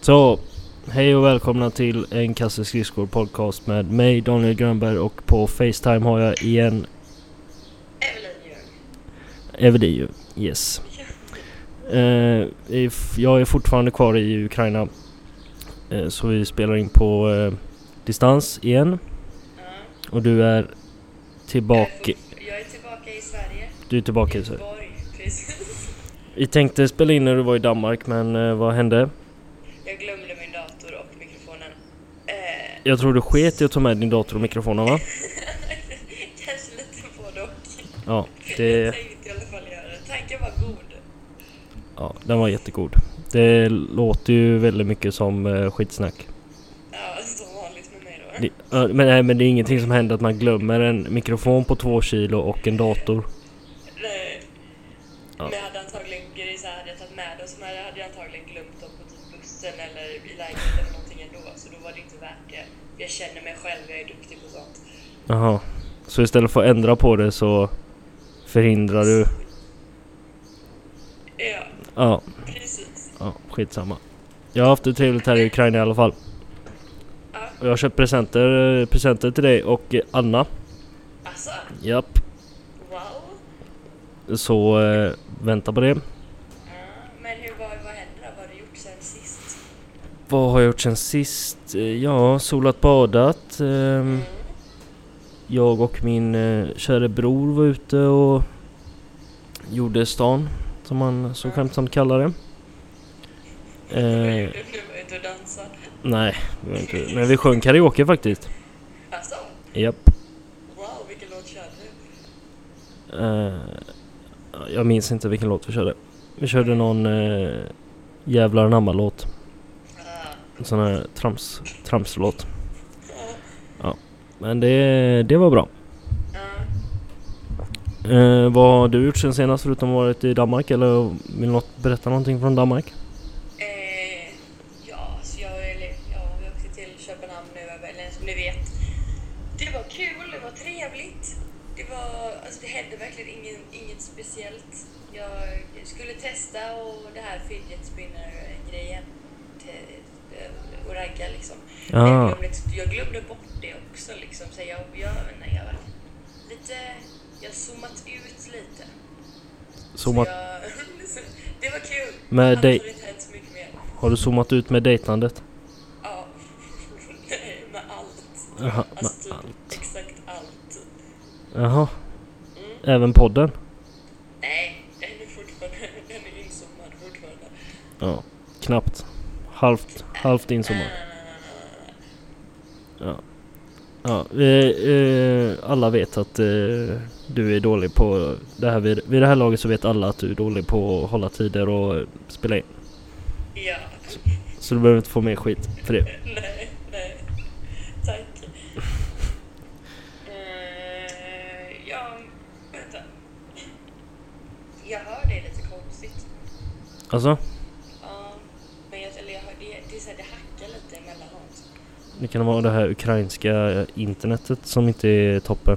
Så, hej och välkomna till en kasse skridskor podcast med mig Daniel Grönberg och på Facetime har jag igen Evelyn Ljung. Evediu. Yes. Eh, if- jag är fortfarande kvar i Ukraina. Eh, så vi spelar in på eh, distans igen. Mm. Och du är Jag, tillbaka. är fort- jag är tillbaka i Sverige. Du är tillbaka i Sverige. Göteborg, precis. Vi tänkte spela in när du var i Danmark men eh, vad hände? Jag glömde min dator och mikrofonen. Eh, Jag tror du sket i att ta med din dator och mikrofonen va? kanske lite både och. Ja, Jag det, tänkte i alla fall göra det. Tanken var god. ja den var jättegod. Det låter ju väldigt mycket som eh, skitsnack. Ja, som vanligt med mig då. Det, ja, men, nej, men det är ingenting som händer att man glömmer en mikrofon på två kilo och en dator. Nej. Ja. Eh, Men jag hade antagligen, Grisa hade jag tagit med dem så hade jag antagligen glömt dem på typ bussen eller i lägenheten eller någonting ändå. Så då var det inte värt det. Jag känner mig själv, jag är duktig på sånt. Jaha. Så istället för att ändra på det så förhindrar du... Ja, Ja, precis. ja skitsamma. Jag har haft det trevligt här i Ukraina i alla fall. Ja. Och jag har köpt presenter, eh, presenter till dig och eh, Anna. Alltså, Japp. wow. Så eh, vänta på det. Ja, Men hur, vad, vad händer då? Vad har du gjort sen sist? Vad har jag gjort sen sist? Eh, Ja, solat, badat. ehm, Jag och min eh, käre bror var ute och gjorde stan, som man så skämtsamt kallar det. Eh, Du du Mm. var ute och dansade. nej, det var inte. men vi sjöng karaoke faktiskt. Alltså, Japp. wow vilken låt körde du? Eh, jag minns inte vilken låt vi körde. Vi körde någon eh, jävlar anamma-låt. Ah, En sån här trams, tramslåt. ja, Men det, det var bra. ja. Eh, vad har du gjort sen senast förutom att ha varit i Danmark eller vill något, berätta någonting från Danmark? Eh, ja, så jag, eller, ja, vi åkte till Köpenhamn nu, eller som ni vet. Det var kul, det var trevligt. Det, var, alltså, det hände verkligen ingen, inget speciellt. Jag skulle testa och det här fidget spinner-grejen till- eh, och ragga liksom. Men Jag, Ah, glömde, jag glömde bort det också liksom. Så jag, jag, nej, jag var lite... Jag har zoomat ut lite. zoomat, Så jag, så, det var kul. Med Annars dig- har det inte hänt så mycket mer. har du zoomat ut med dejtandet? Ja, Nej, med allt. Jaha, alltså typ med allt. exakt allt. Jaha, Mm. även podden? Nej, den är fortfarande, den är inzoomad fortfarande. Ja, knappt. Halvt, halvt inzoomad. Ah, Ja, vi, eh, alla vet att eh, du är dålig på det här. Vid, vid det här laget så vet alla att du är dålig på att hålla tider och eh, spela in. Eh, ja, Så du behöver inte få mer skit för det. nej, nej. Tack. Eh, ja, vänta. Jag hör det lite konstigt. Alltså, Ja, men jag, eller jag hör, det, det, är så här, det hackar lite emellanåt. det kan vara det här ukrainska internetet som inte är toppen.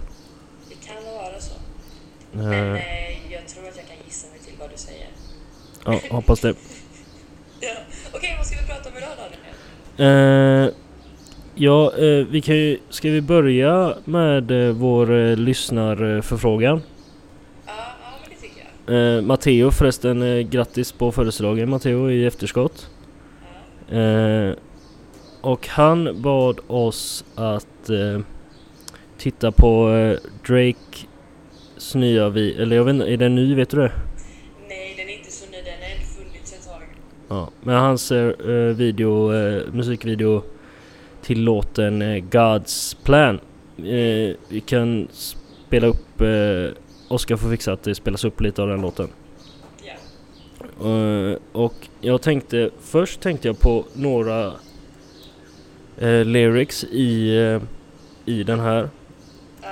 Det kan vara så. Men Eh, eh, jag tror att jag kan gissa mig till vad du säger. ja, hoppas det. Ja. Okej, vad ska vi prata om idag Daniel? Eh, ja, eh, vi kan ju, ska vi börja med eh, vår eh, lyssnarförfrågan? Ja, ja men det tycker jag. Eh, Matteo förresten, eh, grattis på födelsedagen Matteo i efterskott. Ja. Eh, och han bad oss att eh, titta på eh, Drakes nya vi eller jag vet inte, är den ny vet du det? Nej, den är inte så ny. Den har ändå funnits ett tag. Ja, men hans eh, eh, video, eh, musikvideo till låten eh, God's Plan. Eh, vi kan spela upp, eh, Oskar får fixa att det spelas upp lite av den låten. Ja. Eh, och jag tänkte, först tänkte jag på några eh, lyrics i, eh, i den här ja.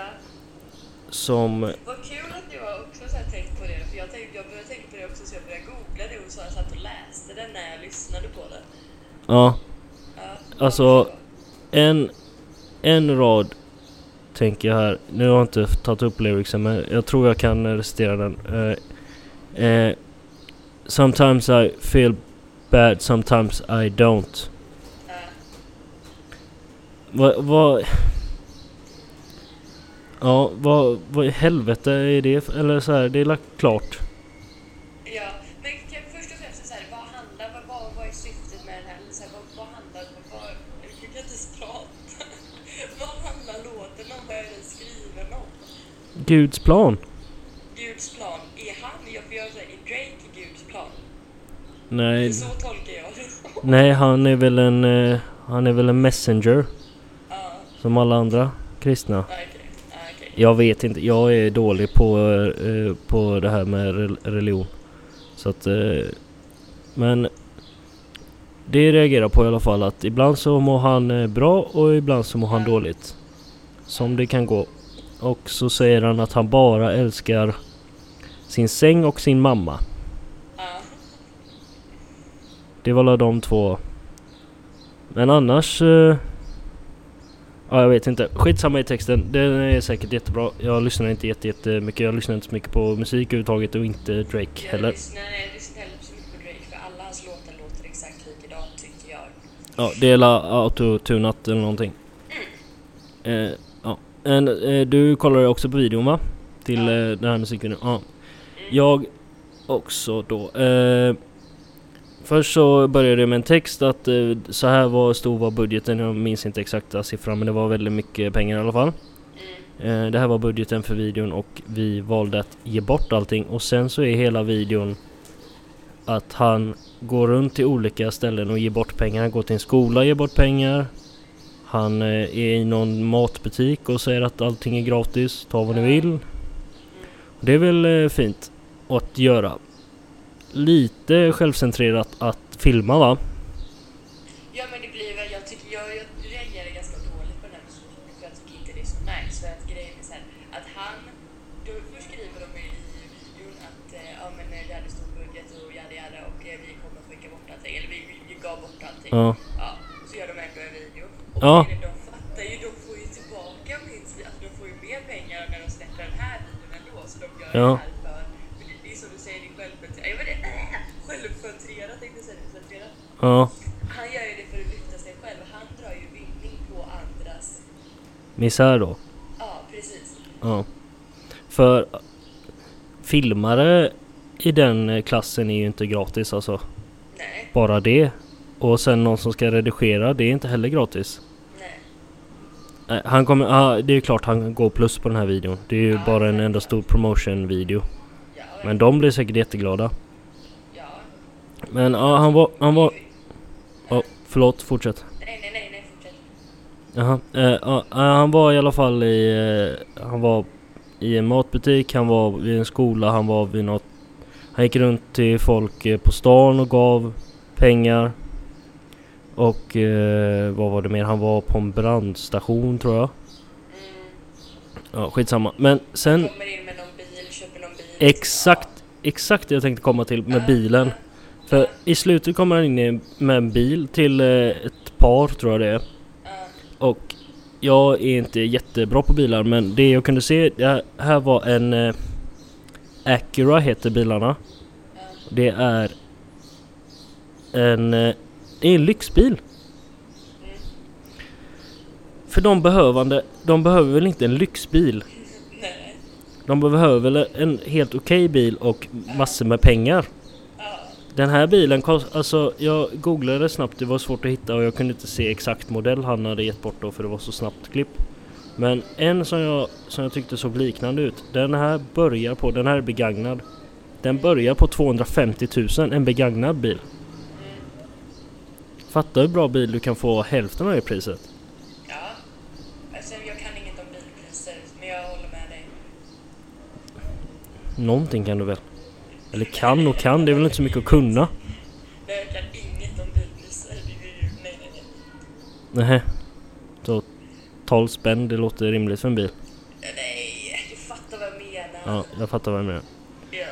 som, Vad kul att du har också så här tänkt på det. För jag, tänkte, jag började tänka på det också så jag började googla det och så jag satt och läste den när jag lyssnade på den. ja, Ja. Alltså- en, en rad tänker jag här. Nu har jag inte tagit upp lyricsen men jag tror jag kan eh, recitera den. Eh, eh, Sometimes I feel bad, sometimes I don't. Eh, Vad... vad ja, vad, vad i helvete är det? för- Eller så här, det är lagt klart. ja. Men kan först och främst, så här, vad handlar, vad, vad, vad är syftet med den här? Eller Så här vad, vad handlar, vad, vad, jag kan inte ens prata. vad handlar låten om? Vad är den skriven om? Guds plan? Guds plan, är han, jag får göra så här, är Drake Guds plan? Nej, Så tolkar jag det. nej han är väl en... eh, han är väl en messenger. Ja, Som alla andra kristna. ah, okej. Ah, okej. Jag vet inte, jag är dålig på, eh, på det här med rel- religion. Så att... eh, Men... Det jag reagerar på i alla fall att ibland så mår han eh, bra och ibland så mår han dåligt. Som det kan gå. Och så säger han att han bara älskar sin säng och sin mamma. Ja. Det var väl de två. Men annars... eh, ja, jag vet inte. Skitsamma i texten. Den är säkert jättebra. Jag lyssnar inte jätte, jättemycket. Jag lyssnar inte så mycket på musik överhuvudtaget och inte Drake Jag heller. lyssnar, nej, jag lyssnar heller inte så mycket på Drake för alla hans låtar låter exakt likadant tycker jag. Ja, det är la autotunat eller någonting. Eh, ja. En, eh, du kollade också på videon va? Till Ja. eh, den här musikvideon. Ja. Mm. Jag också då. Eh, först så började det med en text att eh, så här var, stor var budgeten. Jag minns inte exakta siffran men det var väldigt mycket pengar i alla fall. Mm. Eh, det här var budgeten för videon och vi valde att ge bort allting och sen så är hela videon att han går runt till olika ställen och ger bort pengar. Han går till en skola och ger bort pengar. Han eh, är i någon matbutik och säger att allting är gratis, ta vad ni vill. Det är väl eh, fint att göra. Lite självcentrerat att filma va? Ja men det blir väl, jag tycker, jag, jag reagerar ganska dåligt på den här musiken för jag tycker inte det är så nice. För att grejen är så här, att han, då först skriver de i videon att eh, ja men eh, vi hade stor budget och yada yada och eh, vi kommer skicka bort allting, eller vi, vi, vi gav bort allting. Ja. Ja, så gör de ändå en video. Och Ja. grejen är, de fattar ju, de får ju tillbaka minst, alltså de får ju mer pengar när de släpper den här videon ändå. Så de gör Ja. det här för, för det, det är som du säger, det är självförtret- jag vet inte, äh, självförtrerat tänkte jag säga, självförtrerat. Ja, Han gör ju det för att lyfta sig själv. Han drar ju vinning på andras... misär då. Ja, precis. Ja. För filmare i den eh, klassen är ju inte gratis alltså. Nej, Bara det. Och sen någon som ska redigera, det är inte heller gratis. nej. Nej, Han kommer, ah, det är ju klart han går plus på den här videon. Det är ju Ja, bara en ja. enda stor promotion video. Ja, Men de blir säkert jätteglada. ja. Men ja, han var, han var... Oh, förlåt, fortsätt. Nej, nej, nej, nej, fortsätt. Jaha. Eh, ja, eh, han var i alla fall i... eh, han var i en matbutik, han var vid en skola, han var vid något... Han gick runt till folk eh, på stan och gav pengar. Och eh, vad var det mer? Han var på en brandstation tror jag. Mm. Ja, skitsamma. Men sen... Kommer in med någon bil, köper någon bil. Exakt, exakt det jag tänkte komma till med bilen. För i slutet kommer han in i- med en bil till eh, ett par tror jag det är. Ja, Och jag är inte jättebra på bilar men det jag kunde se, det här- här var en eh, Acura heter bilarna. ja, Det är en, eh, det är en lyxbil. mm. För de behövande, de behöver väl inte en lyxbil? Nej. De behöver väl en helt okej bil och massor med pengar. Ja, Den här bilen kost, alltså jag googlade snabbt, det var svårt att hitta och jag kunde inte se exakt modell han hade gett bort då för det var så snabbt klipp. Men en som jag, som jag tyckte såg liknande ut, den här börjar på, den här är begagnad. Den börjar på 250 000, en begagnad bil. Fatta hur bra bil du kan få hälften av det priset. ja. Alltså, jag kan inget om bilpriser, men jag håller med dig. Någonting kan du väl? Eller kan och kan, det är väl inte så mycket att kunna? Nej, jag kan inget om bilpriser. Det är ju... Nej, nej, nej. Nähä. Så 12 spänn, det låter rimligt för en bil. Nej, du fattar vad jag menar. Ja, jag fattar vad du menar. ja.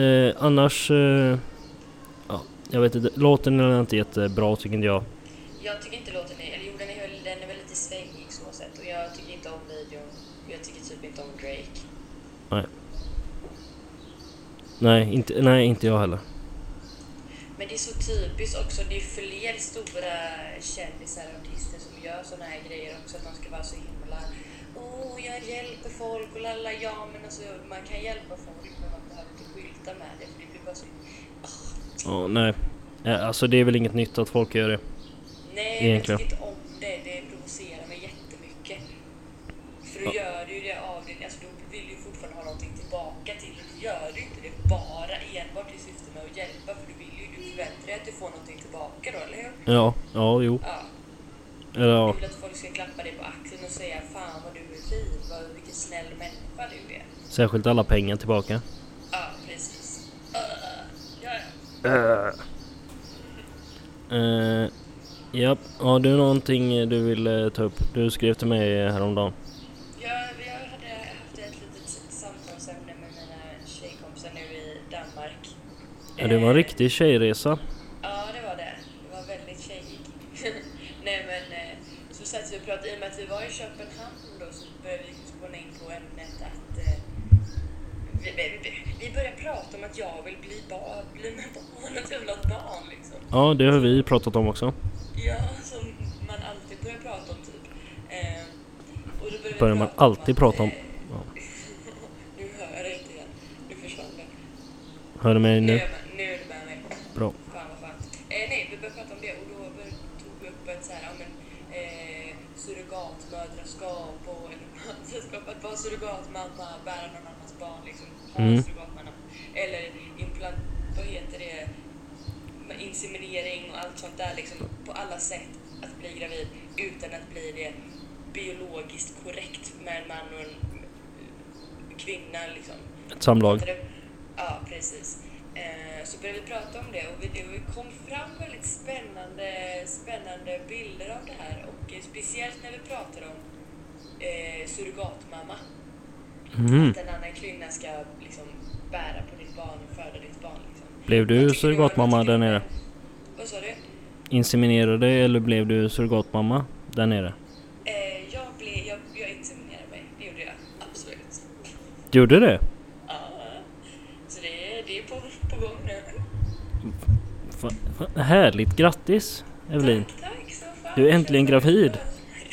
Eh, annars... Eh, ja, jag vet inte. Låten är inte jättebra tycker inte jag. Jag tycker inte låten är... Eller jo, den är, väl- den är väl lite svängig så sett. Och jag tycker inte om videon. Jag tycker typ inte om Drake. Nej, inte, nej, inte jag heller. Men det är så typiskt också. Det är fler stora kändisar och artister som gör såna här grejer också. Att de ska vara så himla... Åh, oh, jag hjälper folk och lalla, ja men alltså man kan hjälpa folk men man behöver inte skylta med det för det blir bara så... Ah, Ja, nej. Eh, Alltså det är väl inget nytt att folk gör det. nej, Egentligen. jag tycker inte om det. Det provocerar mig jättemycket. För då gör du ju det av din... Alltså då vill du ju fortfarande ha någonting tillbaka till och då gör du inte det bara enbart i syfte med att hjälpa för du vill ju... Du förväntar dig att du får någonting tillbaka då, eller hur? Ja, ja, jo. Ja. Eller ja. Jag vill att folk ska klappa dig på axeln och säga Fan vad du är fin, vad, vilken snäll människa du är. Särskilt alla pengar tillbaka. Ja, precis. Uh, ja, ja. Uh, japp, har du någonting eh, du vill eh, ta upp? Du skrev till mig eh, häromdagen. Jag, jag hade haft ett litet samtalsämne med mina tjejkompisar nu i Danmark. Ja, det var en Eh, riktig tjejresa. Ja, det var det. Det var väldigt tjejig. Nej, men eh, så satt vi och pratade. I och med att vi var i Köpenhamn då så började vi liksom spåna in på ämnet att eh, vi, vi, vi- vi började prata om att jag vill bli barn, bli med barn, att jag vill ha ett barn liksom. Ja, det har vi pratat om också. Ja, som man alltid börjar prata om typ. Eh, och då börjar vi Börjar man om alltid att, prata om- eh, ja. nu hör jag det inte igen. Nu försvann det. Hör du mig Nu, är nu? jag med- nu är det med mig. Bra. Fan vad skönt. Eh, nej, vi började prata om det och då bör- tog vi upp ett så här, ja men eh, surrogatmödraskap och eller mödraskap, att vara surrogatmamma, bära någon annans barn liksom, ha Mm. en surrogatmamma. Eller implant, vad heter det, med inseminering och allt sånt där liksom, på alla sätt att bli gravid utan att bli det biologiskt korrekt med en man och en eh, kvinna liksom. Ett samlag. Pratade- Ja, precis. Eh, Så började vi prata om det och vi- det vi kom fram väldigt spännande, spännande bilder av det här och eh, speciellt när vi pratade om eh, surrogatmamma. Mhm. Att en annan kvinna ska liksom bära på ditt barn och föda ditt barn. Liksom. Blev du Jag tycker det var- surrogatmamma jag tycker där det var- nere? Vad sa du? Inseminerade eller blev du surrogatmamma där nere? Eh, jag, blev, jag, jag inseminerade mig, det gjorde jag absolut. Gjorde det? Ja. Så det, det är på, på gång nu. Fa- fa- Härligt, grattis Evelin! Tack, tack så fan. Du är äntligen gravid.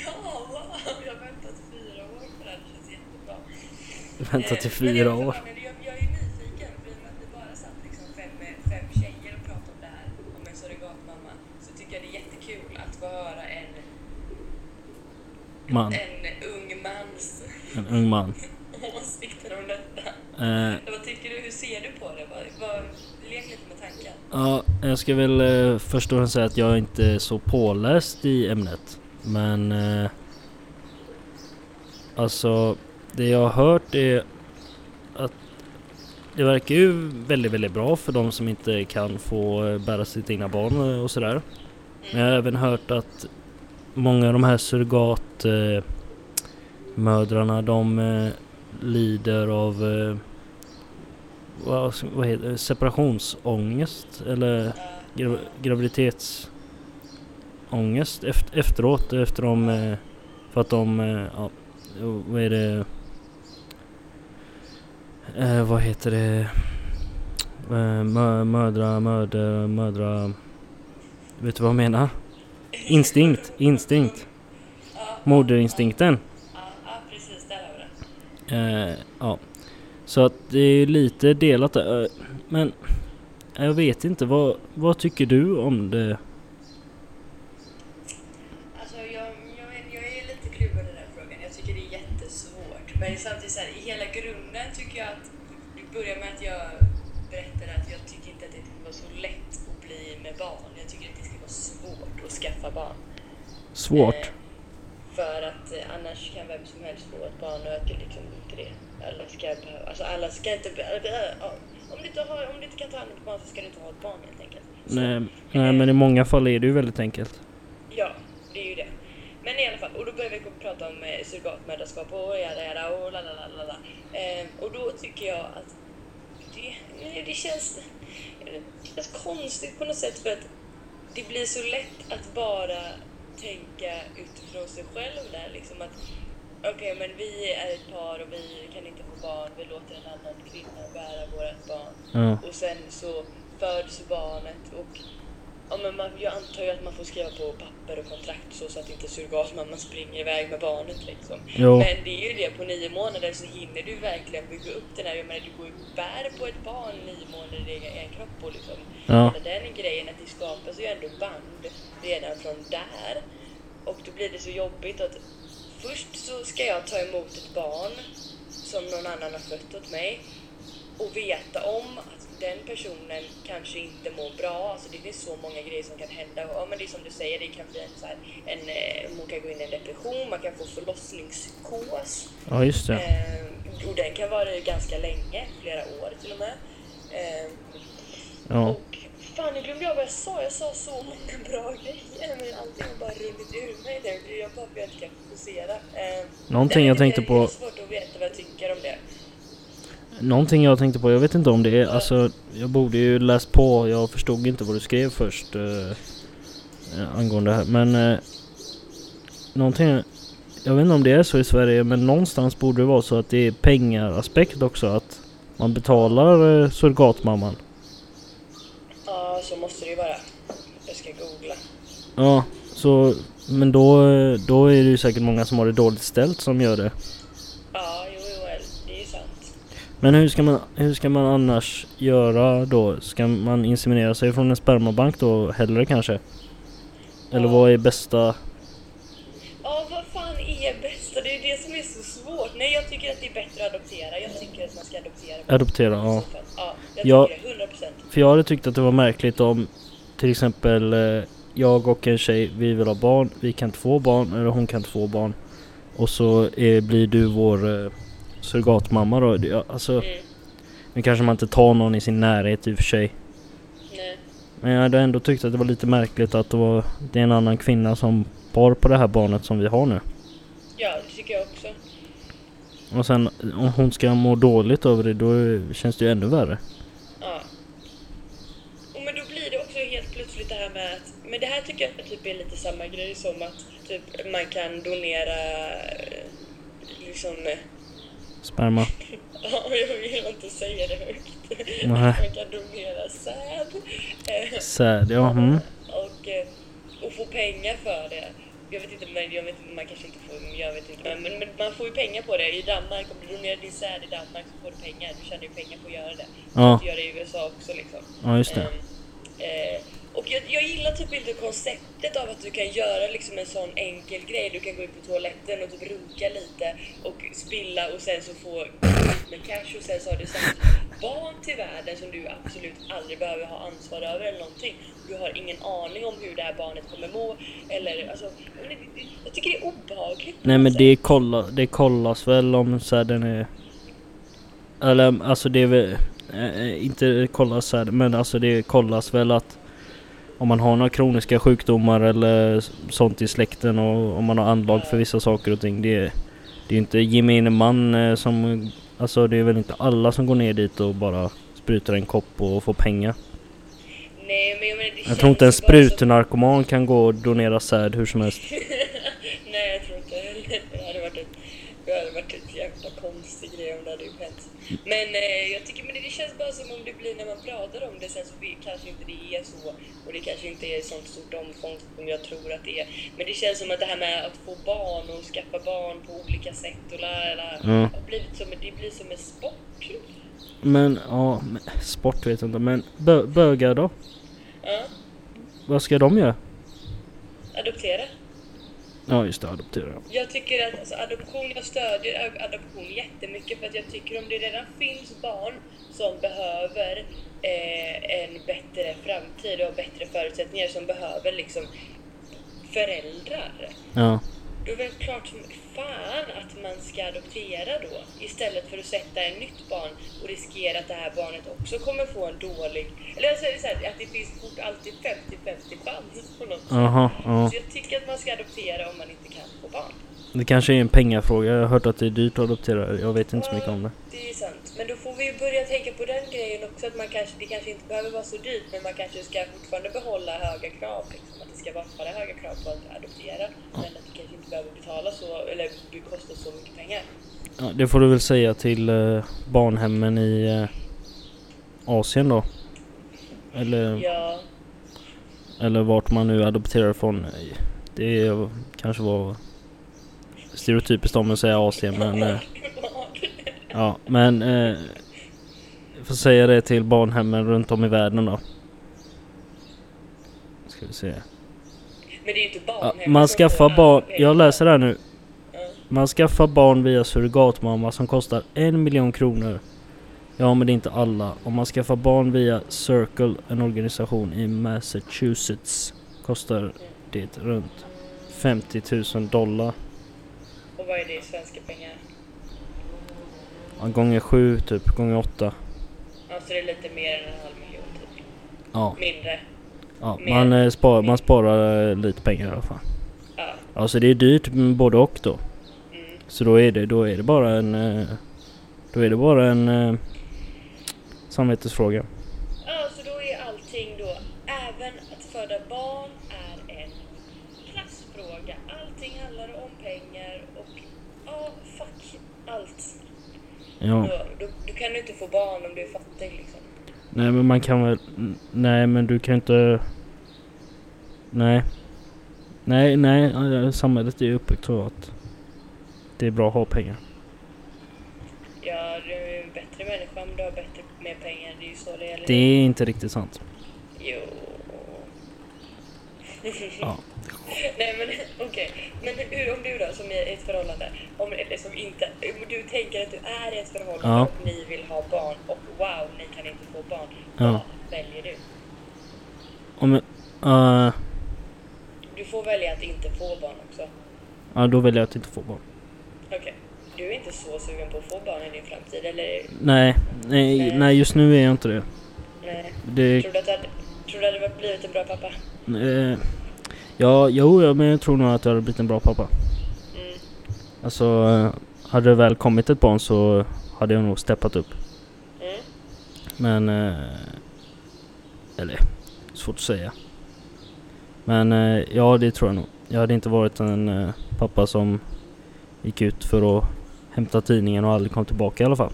Ja, wow. Jag har väntat fyra år på det här. Det känns jättebra. Väntat i Eh, men jag fyra är år. förvånad. Jag, jag är nyfiken för i och med att vi bara satt liksom fem, fem tjejer och pratade om det här, om en surrogatmamma, så tycker jag det är jättekul att få höra en, Man. en ung mans En ung man. åsikter om detta. Eh, Vad tycker du? Hur ser du på det? Vad, vad, lek lite med tanken. Ja, jag ska väl eh, först och främst säga att jag inte är så påläst i ämnet. Men... Eh, alltså, det jag har hört är att det verkar ju väldigt, väldigt bra för de som inte kan få eh, bära sitt egna barn eh, och sådär. Men jag har även hört att många av de här surrogatmödrarna, eh, mödrarna, de eh, lider av eh, vad, vad heter det? separationsångest eller Ja. gra, graviditetsångest efter, efteråt efter de eh, för att de eh, ja, jo, vad är det eh, vad heter det eh, mö, mödra mödra mödra vet du vad jag menar instinkt instinkt Ja, moderinstinkten ja, ja, precis. Där har vi det. Eh, ja. Så att det är lite delat där. Eh, Men jag vet inte, vad, vad tycker du om det? Alltså jag, jag, vet- jag är lite kluven i den här frågan. Jag tycker det är jättesvårt. Men samtidigt så här, i hela grunden tycker jag att... Du börjar med att jag berättade att jag tycker inte att det var så lätt att bli med barn. Jag tycker att det ska vara svårt att skaffa barn. Svårt. Eh, För att eh, annars kan vem som helst få ett barn och jag tycker liksom inte det. Alla ska behöva, alltså alla ska inte behöva, ja, om du inte, har, om du inte kan ta hand om ett barn så ska du inte ha ett barn helt enkelt. Så- Nej, nej, men i många fall är det ju väldigt enkelt. Ja, det är ju det. Men i alla fall, och då började vi gå- prata om eh, surrogatmödraskap och jada jada och la la la la la. Ehm, Och då tycker jag att det, nej, det, känns, det känns konstigt på något sätt för att det blir så lätt att bara tänka utifrån sig själv där liksom att okej men vi är ett par och vi kan inte få barn, vi låter en annan kvinna bära vårt barn. Ja. Och sen så föds barnet och ja, men man, jag antar ju att man får skriva på papper och kontrakt så, så att inte surrogatmamman springer iväg med barnet liksom. Jo. Men det är ju det, på nio månader så hinner du verkligen bygga upp den här, jag menar du går ju och bär på ett barn nio månader i egen egen kropp och liksom. Ja. Men den grejen att det skapas ju ändå band redan från där. Och då blir det så jobbigt att först så ska jag ta emot ett barn som någon annan har fött åt mig och veta om att den personen kanske inte mår bra. Alltså det finns så många grejer som kan hända. Ja, men det är som du säger, det kan bli en, så här, en, eh, man kan gå in i en depression, man kan få förlossningspsykos. Ja, just det. Eh, och den kan vara ganska länge, flera år till och med. Eh, Ja. Och fan, nu glömde jag vad jag sa. Jag sa så många bra grejer, men allting har bara runnit ur mig nu. Jag bara vet inte kan fokusera. Eh, Någonting nej, jag tänkte Det på- är svårt att veta vad jag tycker om det. Någonting jag tänkte på, jag vet inte om det är, alltså jag borde ju läst på, jag förstod inte vad du skrev först eh, eh, angående det här. Men eh, någonting, jag vet inte om det är så i Sverige, men någonstans borde det vara så att det är pengaraspekt också, att man betalar eh, surrogatmamman. Ja, så måste det ju vara. Jag ska googla. Ja, så, men då, eh, då är det ju säkert många som har det dåligt ställt som gör det. Ja, jo, jo, det är ju sant. Men hur ska man, hur ska man annars göra då? Ska man inseminera sig från en spermabank då hellre kanske? Eller Ja. vad är bästa... Ja, vad fan är bästa? Det är ju det som är så svårt. Nej, jag tycker att det är bättre att adoptera. Jag tycker att man ska adoptera. Adoptera, ja. I så fall. Ja, jag Ja. tycker det. 100 procent. För jag hade tyckt att det var märkligt om till exempel eh, jag och en tjej, vi vill ha barn, vi kan inte få barn, eller hon kan inte få barn. Och så eh, blir du vår eh, surrogatmamma då. Det- ja, Alltså, Mm. nu kanske man inte tar någon i sin närhet i och för sig. Nej. Men jag hade ändå tyckt att det var lite märkligt att det, var, det är en annan kvinna som bar på det här barnet som vi har nu. Ja, det tycker jag också. Och sen om hon ska må dåligt över det då känns det ju ännu värre. Ja. Och men då blir det också helt plötsligt det här med att, men det här tycker jag typ är lite samma grej som att typ man kan donera eh, liksom, eh, Sperma. ja jag vill inte säga det högt. Nej. Man kan donera säd. eh, Sad, ja. Mm. och, eh, och få pengar för det. Jag vet inte, men jag vet, man kanske inte får, jag vet inte. Men, men man får ju pengar på det. I Danmark, om du donerar din säd i Danmark så får du pengar. Du tjänar ju pengar på att göra det. Ja, Du gör det i USA också liksom. ja just det. Ehm, eh, och jag, jag gillar typ inte konceptet av att du kan göra liksom en sån enkel grej. Du kan gå ut på toaletten och typ runka lite och spilla och sen så få med cash och sen så har du satt barn till världen som du absolut aldrig behöver ha ansvar över eller någonting. Du har ingen aning om hur det här barnet kommer må eller alltså, jag, menar, det- det- jag tycker det är obehagligt. på Nej något men sätt. det, kolla, det kollas väl om säden är... Eller alltså det är väl... eh, eh, Inte kollas säden men alltså det kollas väl att om man har några kroniska sjukdomar eller s- sånt i släkten och om man har anlag för vissa saker och ting. Det är, det är inte gemene man eh, som... Alltså det är väl inte alla som går ner dit och bara sprutar en kopp och får pengar. Nej, men jag, menar, det Jag tror inte en känns ju bara som- sprutnarkoman kan gå och donera säd hur som helst. Nej, jag tror inte heller. Det hade varit ett, det hade varit ett jävla konstig grej om det hade hänt. Men eh, jag tycker men det, det känns bara som om det blir när man pratar om det sen så vi- kanske inte det är så och det kanske inte är i sånt stort omfång som jag tror att det är. Men det känns som att det här med att få barn och skaffa barn på olika sätt och lära Mm. har blivit som, det blir som en sport. Men ja, men, sport vet jag inte. Men bö- bögar då? Ja, Vad ska de göra? adoptera. Ja just det, adoptera. ja. Jag tycker att alltså, adoption, jag stödjer ad- adoption jättemycket för att jag tycker om det redan finns barn som behöver eh, en bättre framtid och bättre förutsättningar som behöver liksom föräldrar. Ja. Då är det väl klart som fan att man ska adoptera då istället för att sätta ett nytt barn och riskera att det här barnet också kommer få en dålig... Eller jag säger så här, att det finns fort alltid 50-50 chans på något sätt. Aha, ja. Så jag tycker att man ska adoptera om man inte kan få barn. Det kanske är en pengafråga. Jag har hört att det är dyrt att adoptera. Jag vet inte så mycket om det. Det är sant. Men då får vi ju börja tänka på den grejen också. Att man kanske, det kanske inte behöver vara så dyrt, men man kanske ska fortfarande behålla höga krav. Liksom, att det ska vara höga krav på att adoptera. Men att det kanske inte behöver betala så, eller kosta så mycket pengar. Ja, det får du väl säga till eh, barnhemmen i eh, Asien då. Eller, Ja. eller vart man nu adopterar från. Det är- kanske var stereotypiskt om att säga Asien men... eh, Ja, men... Eh, jag får säga det till barnhemmen runt om i världen då. Ska vi se. Men det är ju inte barn Ja, heller man som skaffar får barn... all- Jag läser det här nu. Ja. Man skaffar barn via surrogatmamma som kostar en miljon kronor. Ja, men det är inte alla. Om man skaffar barn via Circle, en organisation i Massachusetts, kostar det runt 50 000 dollar. Och vad är det i svenska pengar? Ja, Gånger sju typ, gånger åtta. Alltså det är lite mer än en halv miljon typ. Ja, Mindre. ja Mer. man, eh, spar, man sparar eh, lite pengar i alla fall. Ja. Ja, så det är dyrt mm, både och då. Mm. Så då är det, då är det bara en... eh, Då är det bara en... eh, Samvetesfråga. Ja, så då är allting då, även att föda barn är en klassfråga. Allting handlar om pengar och ja, fuck allt. Ja. Då, då, då kan du inte få barn om du är fattig liksom. Nej men man kan väl... n- Nej men du kan inte... Nej. Nej, nej. eh, Samhället är ju uppbyggt så att det är bra att ha pengar. Ja, du är en eh, bättre människa om du har bättre, mer pengar. Det är ju så det gäller. Det är inte riktigt sant. Jo. Ja. Nej men okej. Men hur, om du då som är i ett förhållande, om, eller som inte, om du tänker att du är i ett förhållande Ja. och ni vill ha barn och wow, ni kan inte få barn. Ja. Vad väljer du? Om... eh, Du får välja att inte få barn också. ja, då väljer jag att inte få barn. Okej. Du är inte så sugen på att få barn i din framtid eller? Nej, nej, Nej. nej just nu är jag inte det. Nej. Det... Tror du att du hade, tror du att du hade blivit en bra pappa? Eh, ja, jo, ja, men jag tror nog att jag hade blivit en bra pappa. Mm. Alltså, eh, hade det väl kommit ett barn så hade jag nog steppat upp. Mm. Men... Eh, eller, svårt att säga. Men eh, ja, det tror jag nog. Jag hade inte varit en eh, pappa som gick ut för att hämta tidningen och aldrig kom tillbaka i alla fall.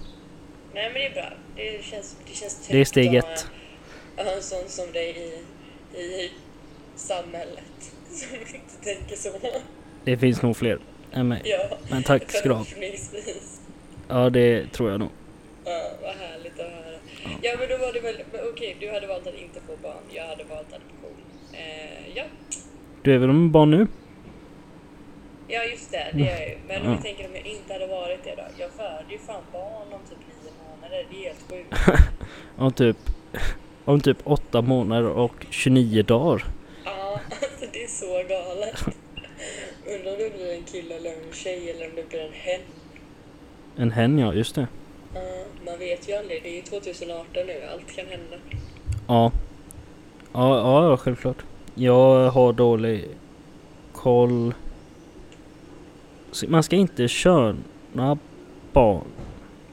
Nej men det är bra. Det känns, det känns tryggt Det är steg att ett. ha- att ha en sån som dig i, i samhället. Som inte tänker så. Det finns nog fler än mig. Ja, Men tack ska du ha. förhoppningsvis. Ja, det tror jag nog. Ja, vad härligt att höra. Ja men då var det väl, men okej du hade valt att inte få barn. Jag hade valt adoption. Eh, ja. Du är väl med barn nu? ja just det, det gör jag ju. Men om Ja. jag tänker om jag inte hade varit det då. Jag förde ju fan barn om typ nio månader. Det är helt sjukt. Om typ... Om typ 8 månader och 29 dagar. Ja, alltså det är så galet. Undrar om det blir en kille eller en tjej eller om det blir en hen. En hen ja, just det. Ja, man vet ju aldrig. Det är ju 2018 nu. Allt kan hända. Ja. Ja, ja, ja självklart. Jag har dålig koll. Så Man ska inte köna barn,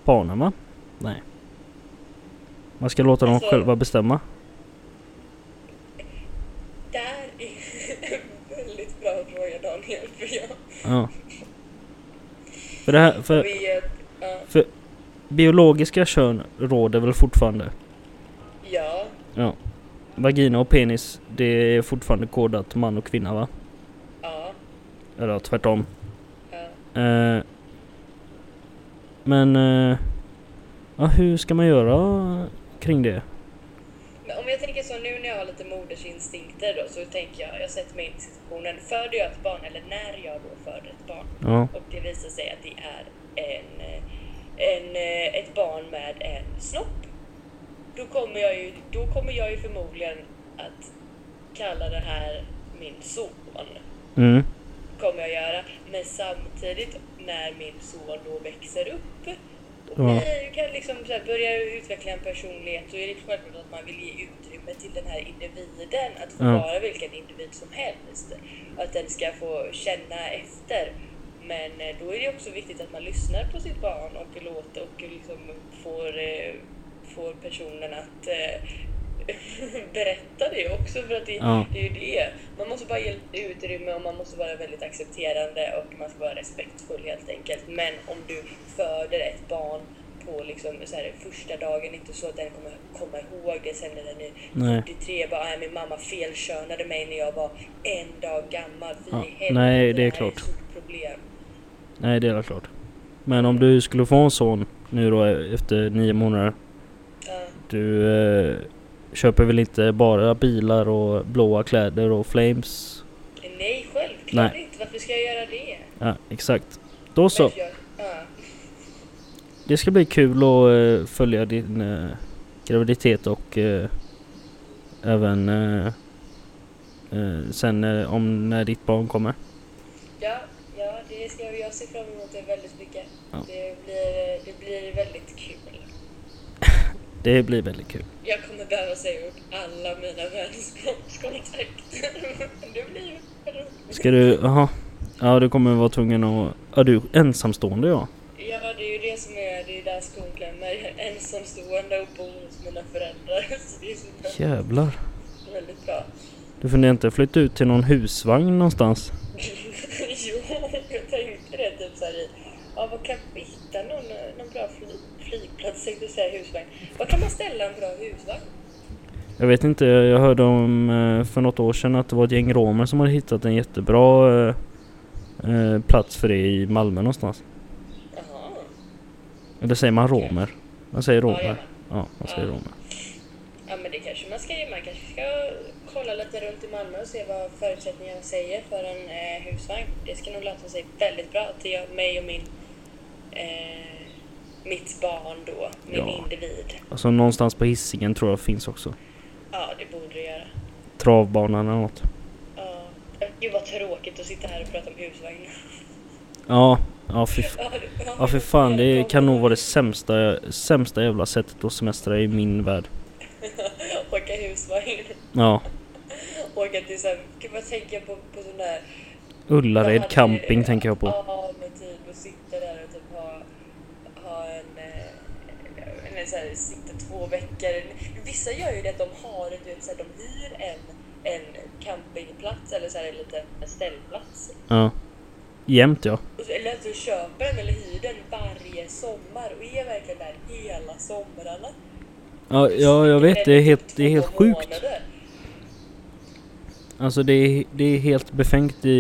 barnen va? Nej. Man ska låta dem Alltså- själva bestämma. Där är en väldigt bra fråga Daniel. För jag Ja. För det här, för vet... Ja, biologiska kön råder väl fortfarande? ja, Ja. Vagina och penis, det är fortfarande kodat man och kvinna va? ja, Eller ja, tvärtom. ja. Eh, men eh, ja, hur ska man göra kring det? Men om jag tänker så nu när jag har lite modersinstinkter då så tänker jag, jag sätter mig in i situationen. Föder jag ett barn eller när jag då föder ett barn Ja, och det visar sig att det är en, eh, en, eh, ett barn med en snopp. Då kommer, jag ju, då kommer jag ju förmodligen att kalla det här min son. mm, Kommer jag göra. Men samtidigt när min son då växer upp och Ja. blir, kan liksom så här, börja utveckla en personlighet så är det självklart att man vill ge utrymme till den här individen att få Ja. vara vilken individ som helst. Och att den ska få känna efter. Men eh, då är det också viktigt att man lyssnar på sitt barn och låter och liksom får, eh, får personen att eh, berätta det också för att det, Ja. det är ju det. Man måste bara ge utrymme och man måste vara väldigt accepterande och man ska vara respektfull helt enkelt. Men om du föder ett barn på liksom, så här, första dagen. Inte så att den kommer komma ihåg det sen när den är Nej. 43. Bara, "Ah, min mamma felkönade mig när jag var en dag gammal. Fy Ja, helvete, nej, det är här klart. ett stort problem. Nej, det är väl klart. Men om du skulle få en son nu då eh, efter nio månader. Ja. Du eh, köper väl inte bara bilar och blåa kläder och flames? Nej, självklart Nej. inte. Varför ska jag göra det? Ja, exakt. Då så. Varför gör- ja. Det ska bli kul att eh, följa din eh, graviditet och eh, även eh, eh, sen eh, om när ditt barn kommer. Ja, ja, det ska jag, jag ser fram emot det väldigt mycket. Ja. Det, blir, det blir väldigt kul. Det blir väldigt kul. Jag kommer behöva säga upp alla mina vänskapskontakter. Men det blir ju roligt. Ska du, jaha. Ja, du kommer vara tvungen att... Ja, du är ensamstående ja. Ja, det är ju det som är, det är där skon klämmer. Jag är ensamstående och bor hos mina föräldrar. Så det är så bra. Jävlar. väldigt bra. Du funderar inte flytta ut till någon husvagn någonstans? jo, jag tänkte det typ såhär i... Ja, vad kan vi hitta någon, någon bra fly, flygplats, tänkte jag säga husvagn. Var kan man ställa en bra husvagn? Jag vet inte, jag hörde om eh, för något år sedan att det var ett gäng romer som hade hittat en jättebra eh, eh, plats för det i Malmö någonstans. Jaha. Eller säger man romer? Man säger Ja, gör romer. man. Ja, man säger Ja. romer. Ja men det kanske man ska göra. Man kanske ska kolla lite runt i Malmö och se vad förutsättningarna säger för en eh, husvagn. Det ska nog lätta sig väldigt bra till jag, mig och min... Eh, mitt barn då. Min Ja. individ. Alltså någonstans på Hisingen tror jag finns också. Ja, det borde det göra. Travbanan eller något. Ja. Gud vad tråkigt att sitta här och prata om husvagnar. Ja, ja fy, f- Ja, det- ja, för fan det kan nog vara det sämsta, sämsta jävla sättet att semestra i min värld. Åka husvagn. Ja, Åka till såhär... Gud vad tänker jag på, på sån där... Jag Ullared hade- camping tänker jag på. Ja, men typ att sitta där och typ ha, ha en... eh, Eller så här, sitta två veckor. Vissa gör ju det att de har, du vet, så här, de hyr en, en campingplats eller så här, en liten ställplats. Ja. Jämt ja. Och så- Eller att du köper den eller hyr den varje sommar och är verkligen där hela somrarna. Ja, ja jag vet. Det är helt, det är helt Två sjukt. månader. Alltså det är, det är helt befängt i,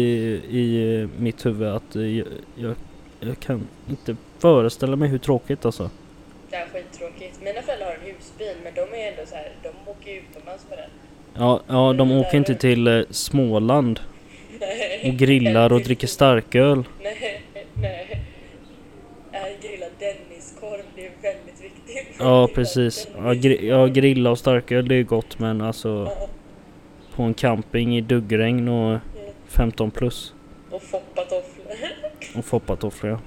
i eh, mitt huvud att eh, jag, jag, jag kan inte föreställa mig hur tråkigt alltså. Det är skittråkigt. Mina föräldrar har en husbil men de är ändå så här, de åker ju utomlands med den. Ja, ja de Det åker där inte är- till eh, Småland Nej. och grillar och dricker starköl. Nej, nej. Jag grillar Denniskorv, det är väldigt viktigt. Ja, precis. Ja, gri- ja, grilla och starköl det är gott men alltså Ja, på en camping i duggregn och 15 plus Och foppatofflor. och foppatofflor ja.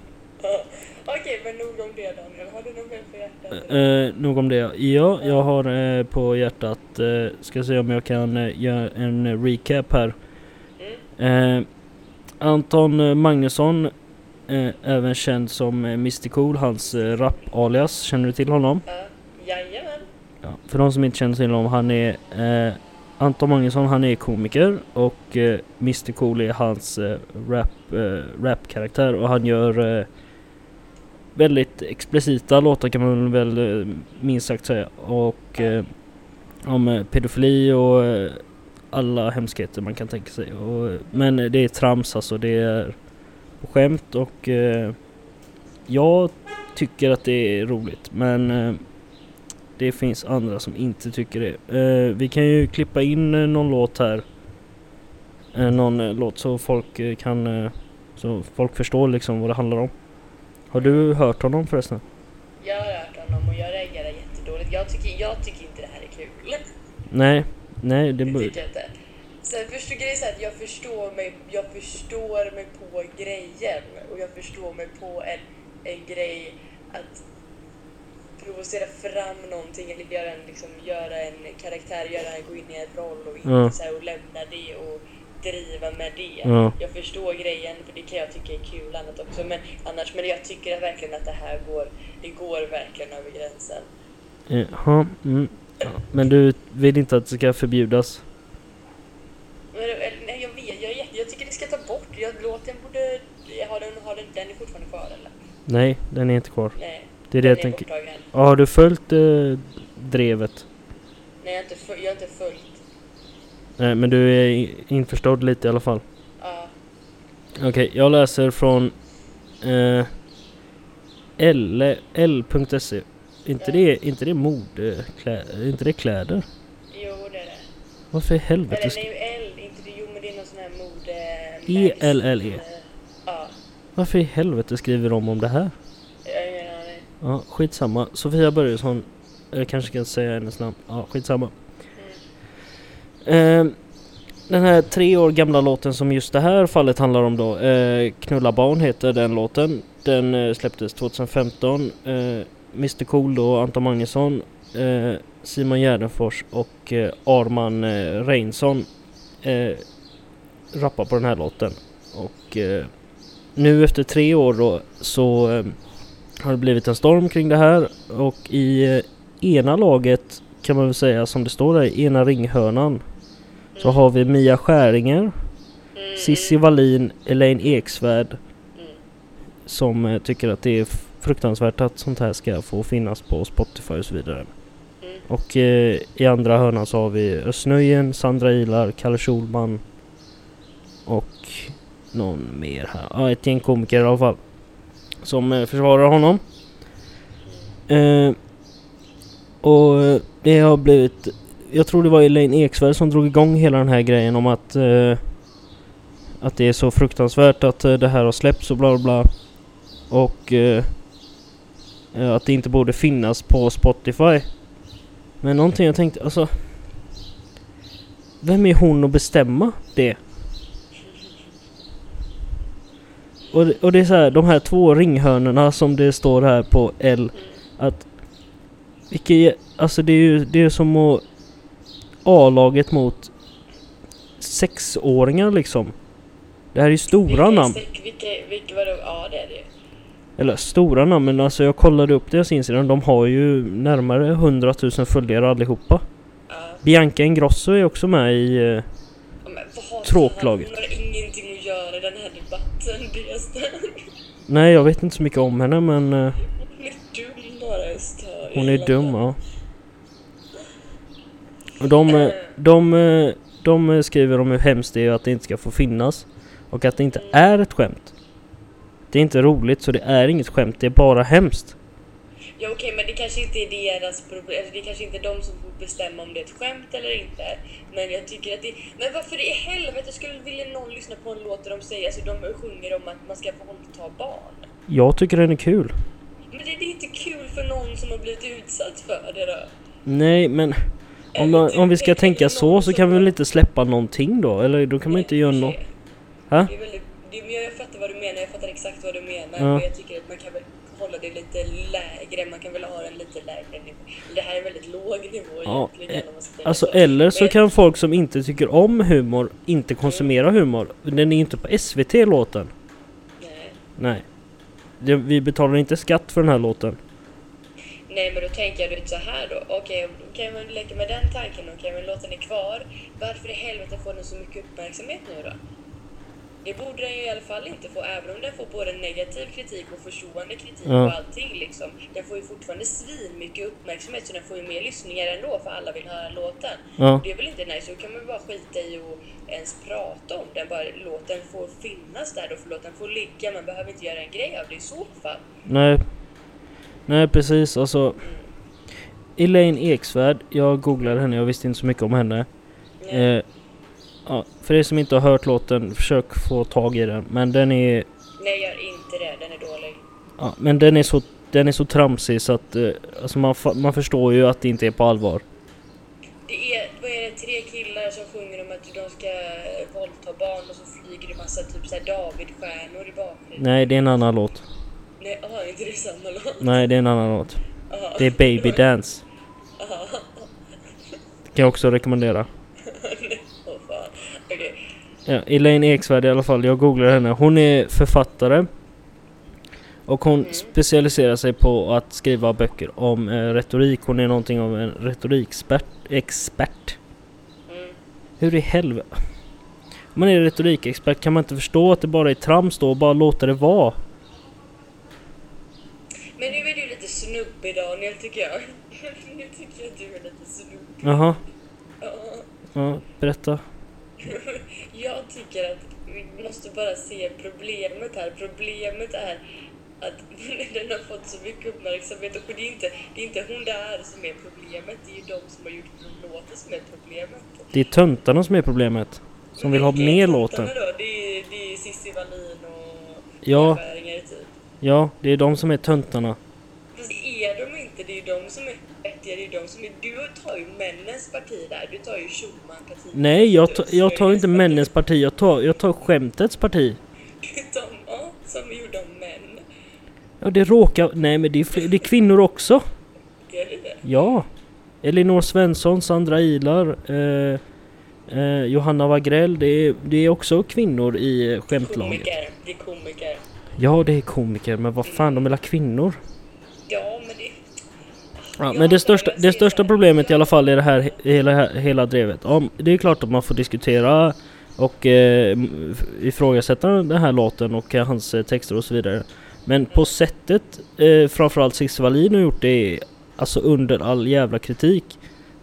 Ja. Okej, men nog om det Daniel. Har du något mer på hjärtat? Eh, nog om det. Ja, jag har eh, på hjärtat, eh, ska se om jag kan eh, göra en recap här. Mm. Eh, Anton Magnusson, eh, även känd som eh, Mr Cool, hans eh, rap-alias, känner du till honom? Ja, jajamän. För de som inte känner till honom, han är eh, Anton Magnusson, han är komiker och eh, Mr Cool är hans eh, rap, eh, rap-karaktär och han gör eh, väldigt explicita låtar kan man väl eh, minst sagt säga och eh, om eh, pedofili och eh, alla hemskheter man kan tänka sig. Och, eh, men det är trams alltså, det är skämt och eh, jag tycker att det är roligt men eh, det finns andra som inte tycker det. Eh, vi kan ju klippa in eh, någon låt här. Eh, någon eh, låt så folk eh, kan... Eh, så folk förstår liksom vad det handlar om. Har du hört honom förresten? Jag har hört honom och jag reagerar jättedåligt. Jag tycker, jag tycker inte det här är kul. Nej, nej det... Det bör- tycker jag inte. Sen förstår grejen är så här att jag förstår mig, jag förstår mig på grejen och jag förstår mig på en, en grej att provocera fram någonting eller göra en, liksom, göra en karaktär, göra en, gå in i en roll och, inte Ja. så här, och lämna det och driva med det. Ja. Jag förstår grejen för det kan jag tycka är kul annat också men annars, men jag tycker verkligen att det här går, det går verkligen över gränsen. Jaha, mm. Ja, Men du vill inte att det ska förbjudas? Men, eller, nej, jag vet, jag, är jätte- jag tycker det ska ta bort. Jag, låten borde... Har den, har den, den är fortfarande kvar eller? Nej, den är inte kvar. Nej. Det är det jag Den är tänker. borttagen. Ja, har du följt eh, drevet? Nej, jag har inte, föl- jag har inte följt. Nej, men du är i- införstådd lite i alla fall. Ja, Okej, jag läser från eh, L- L.se. Inte det, inte det mode? Klä, inte det kläder? jo det är det. Varför i Men helvete? den sk- är ju L, inte det. Jo, men det är någon sån här mode... E Mm. E-L-L-E. Ja, Varför i helvete skriver de om det här? jag menar det. Ja, skitsamma. Sofia Börjesson. Jag kanske kan säga hennes namn. Ja, skitsamma. Mm. Ehm, den här tre år gamla låten som just det här fallet handlar om då. Eh, Knulla barn heter den låten. Den eh, släpptes 2015. Eh, Mr Cool då, Anton Magnusson, eh, Simon Gärdenfors och eh, Arman eh, Reinsson eh, rappar på den här låten. Och eh, nu efter tre år då så eh, har det blivit en storm kring det här och i eh, ena laget kan man väl säga som det står där i ena ringhörnan så har vi Mia Skäringer, Mm, Sissi Wallin, Elaine Eksvärd Mm. som eh, tycker att det är fruktansvärt att sånt här ska få finnas på Spotify och så vidare. Mm. Och eh, i andra hörnan så har vi Ösnöjen, Sandra Ilar, Kalle Schulman och någon mer här. Ja, ett gäng komiker i alla fall. Som eh, försvarar honom. Eh, och eh, det har blivit... Jag tror det var Elaine Eksvärd som drog igång hela den här grejen om att... Eh, att det är så fruktansvärt att eh, det här har släppts och bla bla bla. Och... Eh, eh, att det inte borde finnas på Spotify. Men någonting jag tänkte, alltså... Vem är hon att bestämma det? Och, det- och det är så här, de här två ringhörnorna som det står här på L. Mm. Att... Vilka, jä- alltså det är ju det är som att... A-laget mot sexåringar liksom. Det här är ju stora Vilka- namn. Vilka, vilka, vadå? Ja, det är det ju. Eller stora namn, men alltså jag kollade upp deras Instagram. De har ju närmare 100 000 följare allihopa. Ja. Bianca Ingrosso är också med i... eh, Men vad har Tråklaget. Den har ingenting att göra i den här debatten. Det jag stör. Nej, jag vet inte så mycket om henne, men eh, Hon är dum bara. Jag stör. hon hela är dum, tiden. ja. Och de, eh, de, eh, de eh, skriver om hur hemskt det är att det inte ska få finnas. Och att det inte är ett skämt. Det är inte roligt, så det är inget skämt. Det är bara hemskt. Ja okej men det kanske inte är deras problem, alltså, det kanske inte är de som får bestämma om det är ett skämt eller inte. Men jag tycker att det Men varför i helvete skulle vilja någon lyssna på en låt där de säger, alltså de sjunger om att man ska våldta barn? Jag tycker den är kul. Men det, det är inte kul för någon som har blivit utsatt för det då. typ Nej, men... Om, man, om vi ska tänka så, så kan vi väl inte släppa någonting då? Eller då kan man inte göra något. Ha? Det är väldigt, det, men jag fattar vad du menar, jag fattar exakt vad du menar. Ja. Men jag tycker att man kan väl hålla det lite lägre, man kan väl ha en lite lägre nivå. Det här är en väldigt låg nivå Ja, egentligen. eh, om man ska tänka Alltså så. eller så Men- kan folk som inte tycker om humor inte konsumera humor. Den är ju inte på SVT låten. Nej. Nej. Det, vi betalar inte skatt för den här låten. Nej men då tänker jag ut så här då. Okej, okay, kan vi leka med den tanken? Okej, men låten är kvar. Varför i helvete får den så mycket uppmärksamhet nu då? Det borde den ju i alla fall inte få, även om den får både negativ kritik och försonande kritik Ja. och allting liksom. Den får ju fortfarande svin mycket uppmärksamhet, så den får ju mer lyssningar ändå, för alla vill höra låten. Ja. Det är väl inte nice, då kan man ju bara skita i och ens prata om den. Bara låt den få finnas där då, för låt den få ligga. Man behöver inte göra en grej av det i så fall. Nej. Nej precis alltså. Elaine Eksvärd. Jag googlade henne. Jag visste inte så mycket om henne. Nej. Eh, ja, för er som inte har hört låten. Försök få tag i den. Men den är Nej, gör inte det. Den är dålig. Ja, men den är så, den är så tramsig så att eh, alltså man, fa- man förstår ju att det inte är på allvar. Det är, vad är det, tre killar som sjunger om att de ska eh, våldta barn och så flyger det massa typ såhär Davidstjärnor i bakgrunden. Nej, det är en annan låt. Nej, aha, inte det är samma låt? Nej, det är en annan låt. Aha. Det är Baby Dance. Aha. Det kan jag också rekommendera. Åh fan. Okej. Ja, Elaine Eksvärd i alla fall. Jag googlar henne. Hon är författare. Och hon specialiserar sig på att skriva böcker om eh, retorik. Hon är någonting av en retorikexpert. Expert. Mm. Hur i helvete? Om man är retorikexpert kan man inte förstå att det bara är trams då och bara låta det vara? Men nu är du lite snö snubbig Daniel tycker jag. nu tycker jag att du är lite snubbig. Jaha, Ja. ja, berätta. Jag tycker att vi måste bara se problemet här. Problemet är att den har fått så mycket uppmärksamhet och det är inte, det är inte hon där som är problemet. Det är ju de som har gjort låten som är problemet. Det är töntarna som är problemet. Som vill ha Vilka med är töntarna låten. Då? Det är, det är Cissi Wallin och Ja. Bäringer typ. Ja, det är de som är töntarna. Fast det är de inte. Det är ju de som är vettiga. Det är de som är... Du tar ju männens parti där. Du tar ju Schulman-partiet. Nej, jag, ta- Du jag tar inte Sveriges männens parti. Jag tar, jag tar skämtets parti. parti. De, ja, som är gjorda av män. Ja, det råkar... Nej, men det är, fl- det är kvinnor också. Det är det. Ja. Elinor Svensson, Sandra Ilar, eh, eh, Johanna Wagrell. Det är, det är också kvinnor i eh, skämtlaget. Komiker. Det är komiker. Ja, det är komiker, men vad fan, de är alla kvinnor? Ja, men det... Ja, men det största, det största problemet i alla fall i det här he- hela, hela drevet. Om, det är klart att man får diskutera och eh, m- ifrågasätta den här låten och eh, hans eh, texter och så vidare. Men på sättet eh, framförallt Cissi Wallin har gjort det är alltså under all jävla kritik.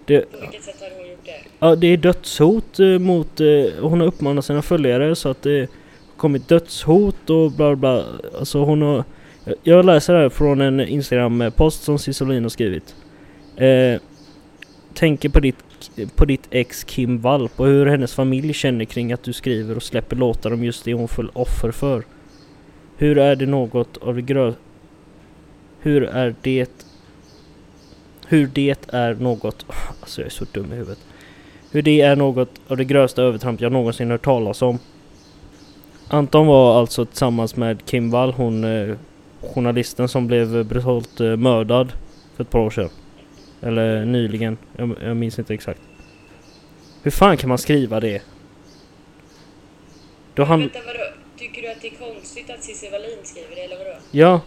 Det, På vilket sätt har hon gjort det? ja, det är dödshot eh, mot, eh, hon har uppmanat sina följare så att det kommit dödshot och bla bla. Alltså hon har, jag läser här från en Instagram-post som Cissi Wallin har skrivit. Eh, tänker på ditt, på ditt ex Kim Valp och hur hennes familj känner kring att du skriver och släpper låtar om just det hon föll offer för. Hur är det något av det grö... Hur är det... Hur det är något... Alltså jag är så dum i huvudet. Hur det är något av det grövsta övertramp jag någonsin hört talas om. Anton var alltså tillsammans med Kim Wall, hon eh, journalisten som blev eh, brutalt eh, mördad för ett par år sedan. Eller nyligen, jag, jag minns inte exakt. Hur fan kan man skriva det? Då han... Vänta, vadå? Tycker du att det är konstigt att Cissi Wallin skriver det, eller vadå? Ja,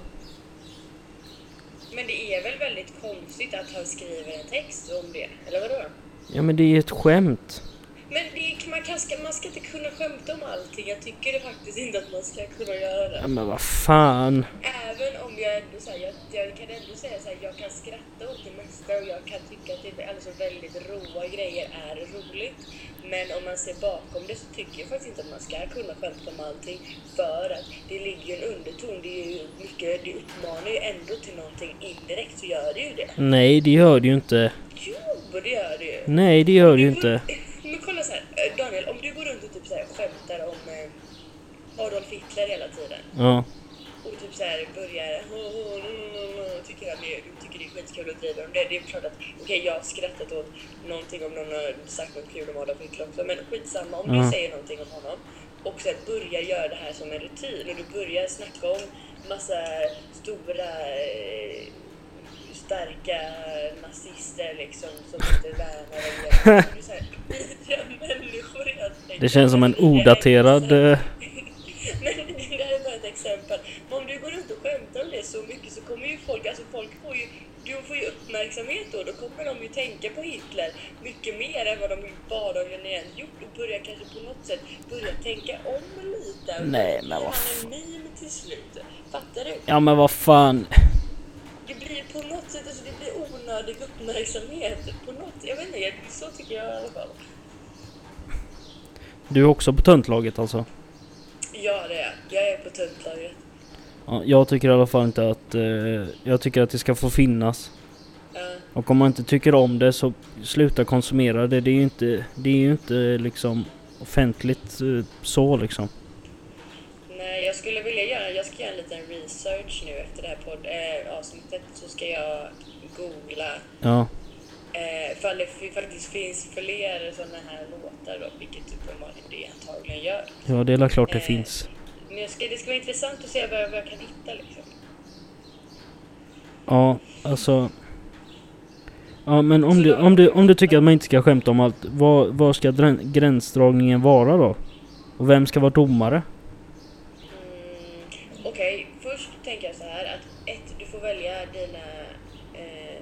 Men det är väl väldigt konstigt att han skriver en text om det, eller vadå? ja men det är ju ett skämt. Men det, är- man, kan, ska, man ska inte kunna skämta om allting. Jag tycker faktiskt inte att man ska kunna göra Ja, det. men vad fan. Även om jag ändå säger, jag, jag kan ändå säga så här, jag kan skratta åt det mesta och jag kan tycka att det är alltså väldigt roa grejer är roligt. Men om man ser bakom det så tycker jag faktiskt inte att man ska kunna skämta om allting. För att det ligger ju en underton, det är ju mycket, det uppmanar ju ändå till någonting indirekt så gör det ju det. Nej, det gör det ju inte. Jo, det gör det ju. Nej, det gör Mm, det ju Du går- inte. Men kolla så här, eh, Daniel, om du går runt och typ så här skämtar om eh, Adolf Hitler hela tiden Ja. och typ så här börjar "Åh, åh, no, no, no, no", tycker han det, du tycker det är skitkul och driver om det. Det är klart att okej, jag har skrattat åt någonting om någon har sagt något kul om Adolf Hitler också, men skitsamma om Ja. du säger någonting om honom och sen börjar göra det här som en rutin och du börjar snacka om massa stora eh, starka nazister liksom som inte värnar om det. Du är så här, vidriga människor helt enkelt. Det känns som en Det är odaterad... så här- eh, men det här är bara ett exempel. Men om du går runt och skämtar om det så mycket så kommer ju folk, alltså folk får ju, du får ju uppmärksamhet då. Då kommer de ju tänka på Hitler mycket mer än vad de i vardagen igen gjort och börjar kanske på något sätt börja tänka om lite. Och Nej, men blir vad han en meme till slut. Fattar du? Ja, men vad fan. Det blir på något sätt, alltså det blir onödig uppmärksamhet på något, jag vet inte, jag- så tycker jag i alla fall. Du är också på töntlaget alltså? Ja det är jag. Jag är på tuntlaget. Ja, jag tycker i alla fall inte att... Eh, jag tycker att det ska få finnas. Ja. Och om man inte tycker om det så sluta konsumera det. Det är ju inte, det är ju inte liksom offentligt eh, så liksom. Nej, jag skulle vilja göra, jag ska göra en liten research nu efter det här podd, eh, avsnittet så ska jag googla Ja. eh, ifall det f- faktiskt finns fler sådana här låtar då, vilket uppenbarligen det antagligen gör. Ja, det är väl klart det Eh, finns. Men jag ska, det ska vara intressant att se vad jag, vad jag kan hitta liksom. Ja, alltså... Ja, men om du, om, du, om du tycker att man inte ska skämta om allt, var, var ska drän- gränsdragningen vara då? Och vem ska vara domare? Mm, Okej, först tänker jag så här att ett, du får välja dina eh,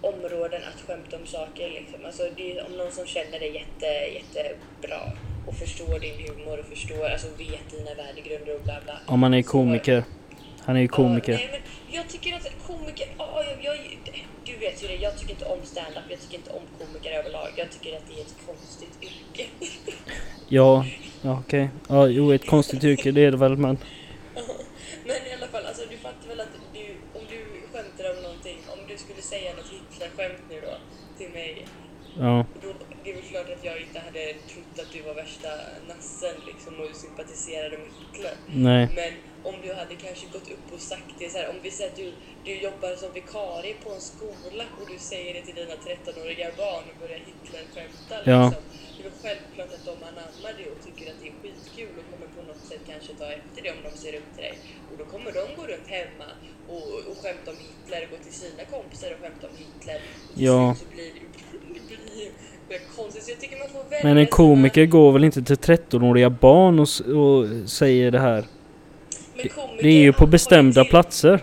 områden att skämta om saker. Liksom. Alltså, det är, om någon som känner dig jätte, jättebra och förstår din humor och förstår, alltså vet dina värdegrunder och bla bla. Om man är Så- komiker? Han är ju Ja, komiker. nej, men jag tycker att komiker... ja, jag, jag, du vet ju det, jag tycker inte om stand-up, jag tycker inte om komiker överlag. Jag tycker att det är ett konstigt yrke. Ja, ja okej. Ja, jo, ett konstigt yrke det är det väl men. Men i alla fall, alltså, du fattar väl att du, om du skämtar om någonting, om du skulle säga något Hitler-skämt nu då till mig, Ja, då, det är väl klart att jag inte hade trott att du var värsta nassen liksom och sympatiserade med Hitler. nej. Men om du hade kanske gått upp och sagt det så här, om vi säger att du, du jobbar som vikarie på en skola och du säger det till dina 13-åriga barn och börjar Hitler-skämta Ja. liksom. Det är väl självklart att de anammar det och tycker att det är skitkul och kommer på något sätt kanske ta efter det om de ser upp till dig. Och då kommer de gå runt hemma och, och skämta om Hitler och gå till sina kompisar och skämta om Hitler. Och till Ja. slut så blir det blir det konstigt. Så jag tycker man får välja Men en sina- komiker går väl inte till 13-åriga barn och, s- och säger det här? Men komiker- Det är ju på alla har bestämda till- platser.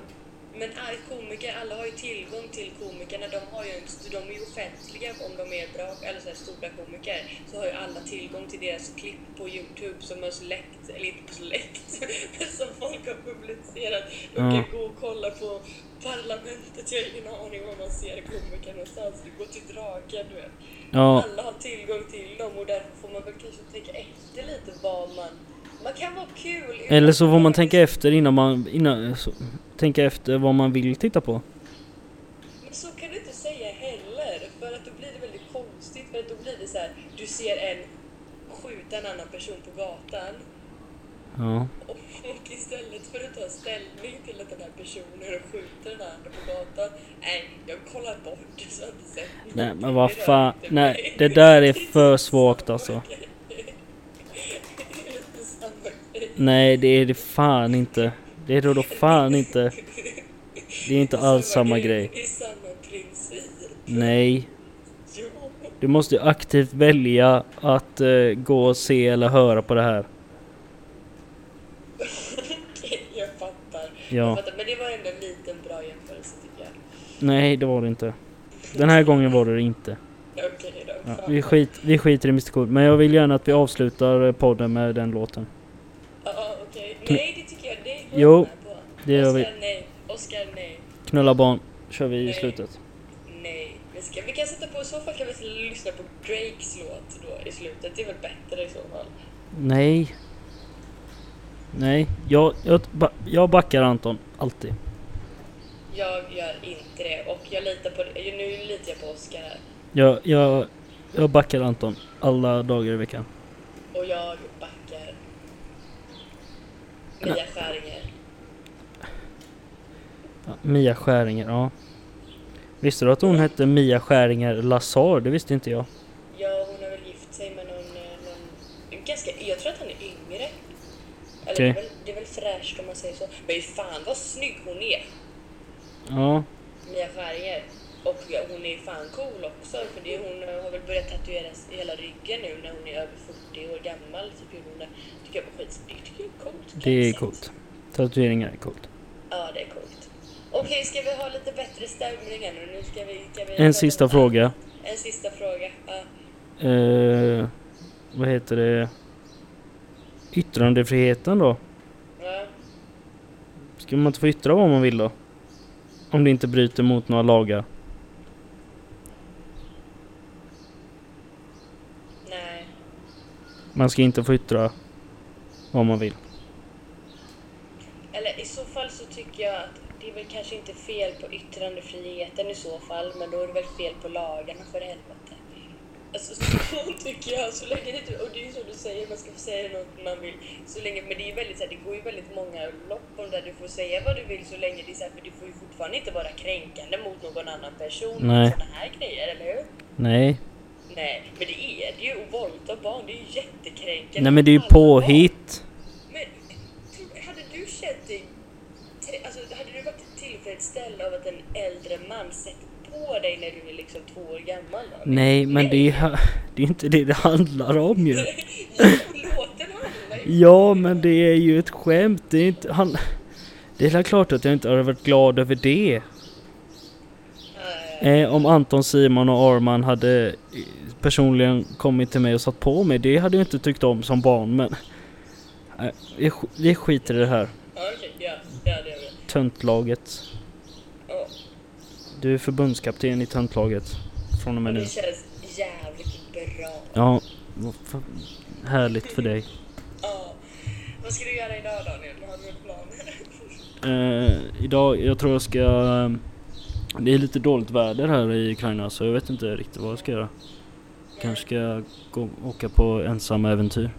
Men all komiker, alla har ju tillgång till komikerna. De, har ju, en- de är ju offentliga om de är bra, eller så här stora komiker. Så har ju alla tillgång till deras klipp på Youtube som har släckt, eller inte på släckt, men som folk har publicerat. De kan Ja. gå och kolla på Parlamentet, jag har ingen aning var man ser komiker någonstans. Du går till Draken, du vet. Ja, Alla har tillgång till dem och därför får man väl kanske tänka efter lite vad man... Man kan vara kul utan eller så att får vara man tänka efter innan man... Innan, så, tänka efter vad man vill titta på. Men så kan du inte säga heller, för att då blir det väldigt konstigt. För att då blir det så här, du ser en skjuta en annan person på gatan Ja. och, och istället för att ta ställning till att den här personen skjuter den andra på gatan, nej, jag kollar bort så jag har inte sett Nej någonting. men vad Det rör fan. inte Nej, mig. det där är Det inte för svagt samma alltså. grej. Det är inte samma grej. Nej, det är det fan inte. Det är det då fan inte. Det är inte alls samma grej. Det är samma princip. Nej. Ja. Du måste aktivt välja att eh, gå och se eller höra på det här. Okej, jag fattar. Jag Ja. fattar. Men det var ändå en liten bra jämförelse tycker jag. Nej, det var det inte. Den här gången var det det inte. Okej då. Ja, fan. vi, skit, vi skiter i Mr Cool, men jag vill gärna att vi avslutar eh, podden med den låten. Ja, ja, okej. Nej, det tycker jag. Det går Jo, jag med på. det gör vi. Oscar, nej. Oscar, nej. Knulla barn kör vi i slutet. Nej. Vi, ska, vi kan sätta på, i så fall kan vi lyssna på Drakes låt då i slutet. Det är väl bättre i så fall. Nej. Nej, jag, jag, ba- jag backar Anton. Alltid. Jag gör inte det och jag litar på Nu litar jag på Oscar här. Jag, jag, jag backar Anton alla dagar i veckan. Och jag backar Mia Skäringer. Ja, Mia Skäringer, ja. Visste du att hon hette Mia Skäringer Lazar? Det visste inte jag. Ja, hon har väl gift sig med någon, eh, någon ganska, jag tror att han är yngre. Eller det, Okej. är väl, det är väl fräscht om man säger så. Men fan vad snygg hon är, Ja, Mia Skäringer. Och ja, hon är fan cool också, för det, hon eh, har väl börjat tatuera s- hela ryggen nu när hon är över 40 år gammal. Typ hur hon det tycker jag var skitsnyggt. Tycker jag är coolt. det är kaxigt. coolt. Tatueringar är coolt. Ja, det är coolt. Okej, ska vi ha lite bättre stämning här nu? nu ska vi, ska vi En sista fråga. En sista fråga. Ja. Eh, vad heter det? Yttrandefriheten då? Ja. Ska man inte få yttra vad man vill då? Om det inte bryter mot några lagar. Nej. Man ska inte få yttra vad man vill. Eller i så fall så tycker jag att det är väl kanske inte fel på yttrandefriheten i så fall, men då är det väl fel på lagarna för helvete. Alltså så tycker jag, så länge det inte, och det är ju så du säger, man ska få säga något man vill. Så länge, men det är ju väldigt så här, det går ju väldigt många lopp om där du får säga vad du vill så länge det är så här, för du får ju fortfarande inte vara kränkande mot någon annan person. Nej. Sådana här grejer, eller hur? Nej. Nej, men det är det ju. Och våldta barn, det är ju jättekränkande. Nej men det är ju mot alla barn. påhitt. Men tror- hade du känt dig... tre- Alltså, hade du varit tillfredsställd av att en äldre man sett på dig när du är liksom två år gammal? Då? Nej men det är ju det är ju inte det det handlar om ju. Jo, låten handlar ju... Ja men det är ju ett skämt. Det är inte han... Det är väl klart att jag inte hade varit glad över det. Eh, Eh, om Anton, Simon och Arman hade eh, personligen kommit till mig och satt på mig. Det hade jag inte tyckt om som barn men... Eh, vi sk- vi skiter i det här. Okej, ja. Ja, det gör vi. töntlaget. Ja. Du är förbundskapten i töntlaget. Från och med Och nu. det känns jävligt bra. Ja, vad fan. härligt för dig. Ja. Vad ska du göra idag Daniel? Har du några planer? Eh, idag, jag tror jag ska... eh, Det är lite dåligt väder här i Ukraina så jag vet inte riktigt vad jag ska göra. Kanske ska jag gå, åka på ensamma äventyr.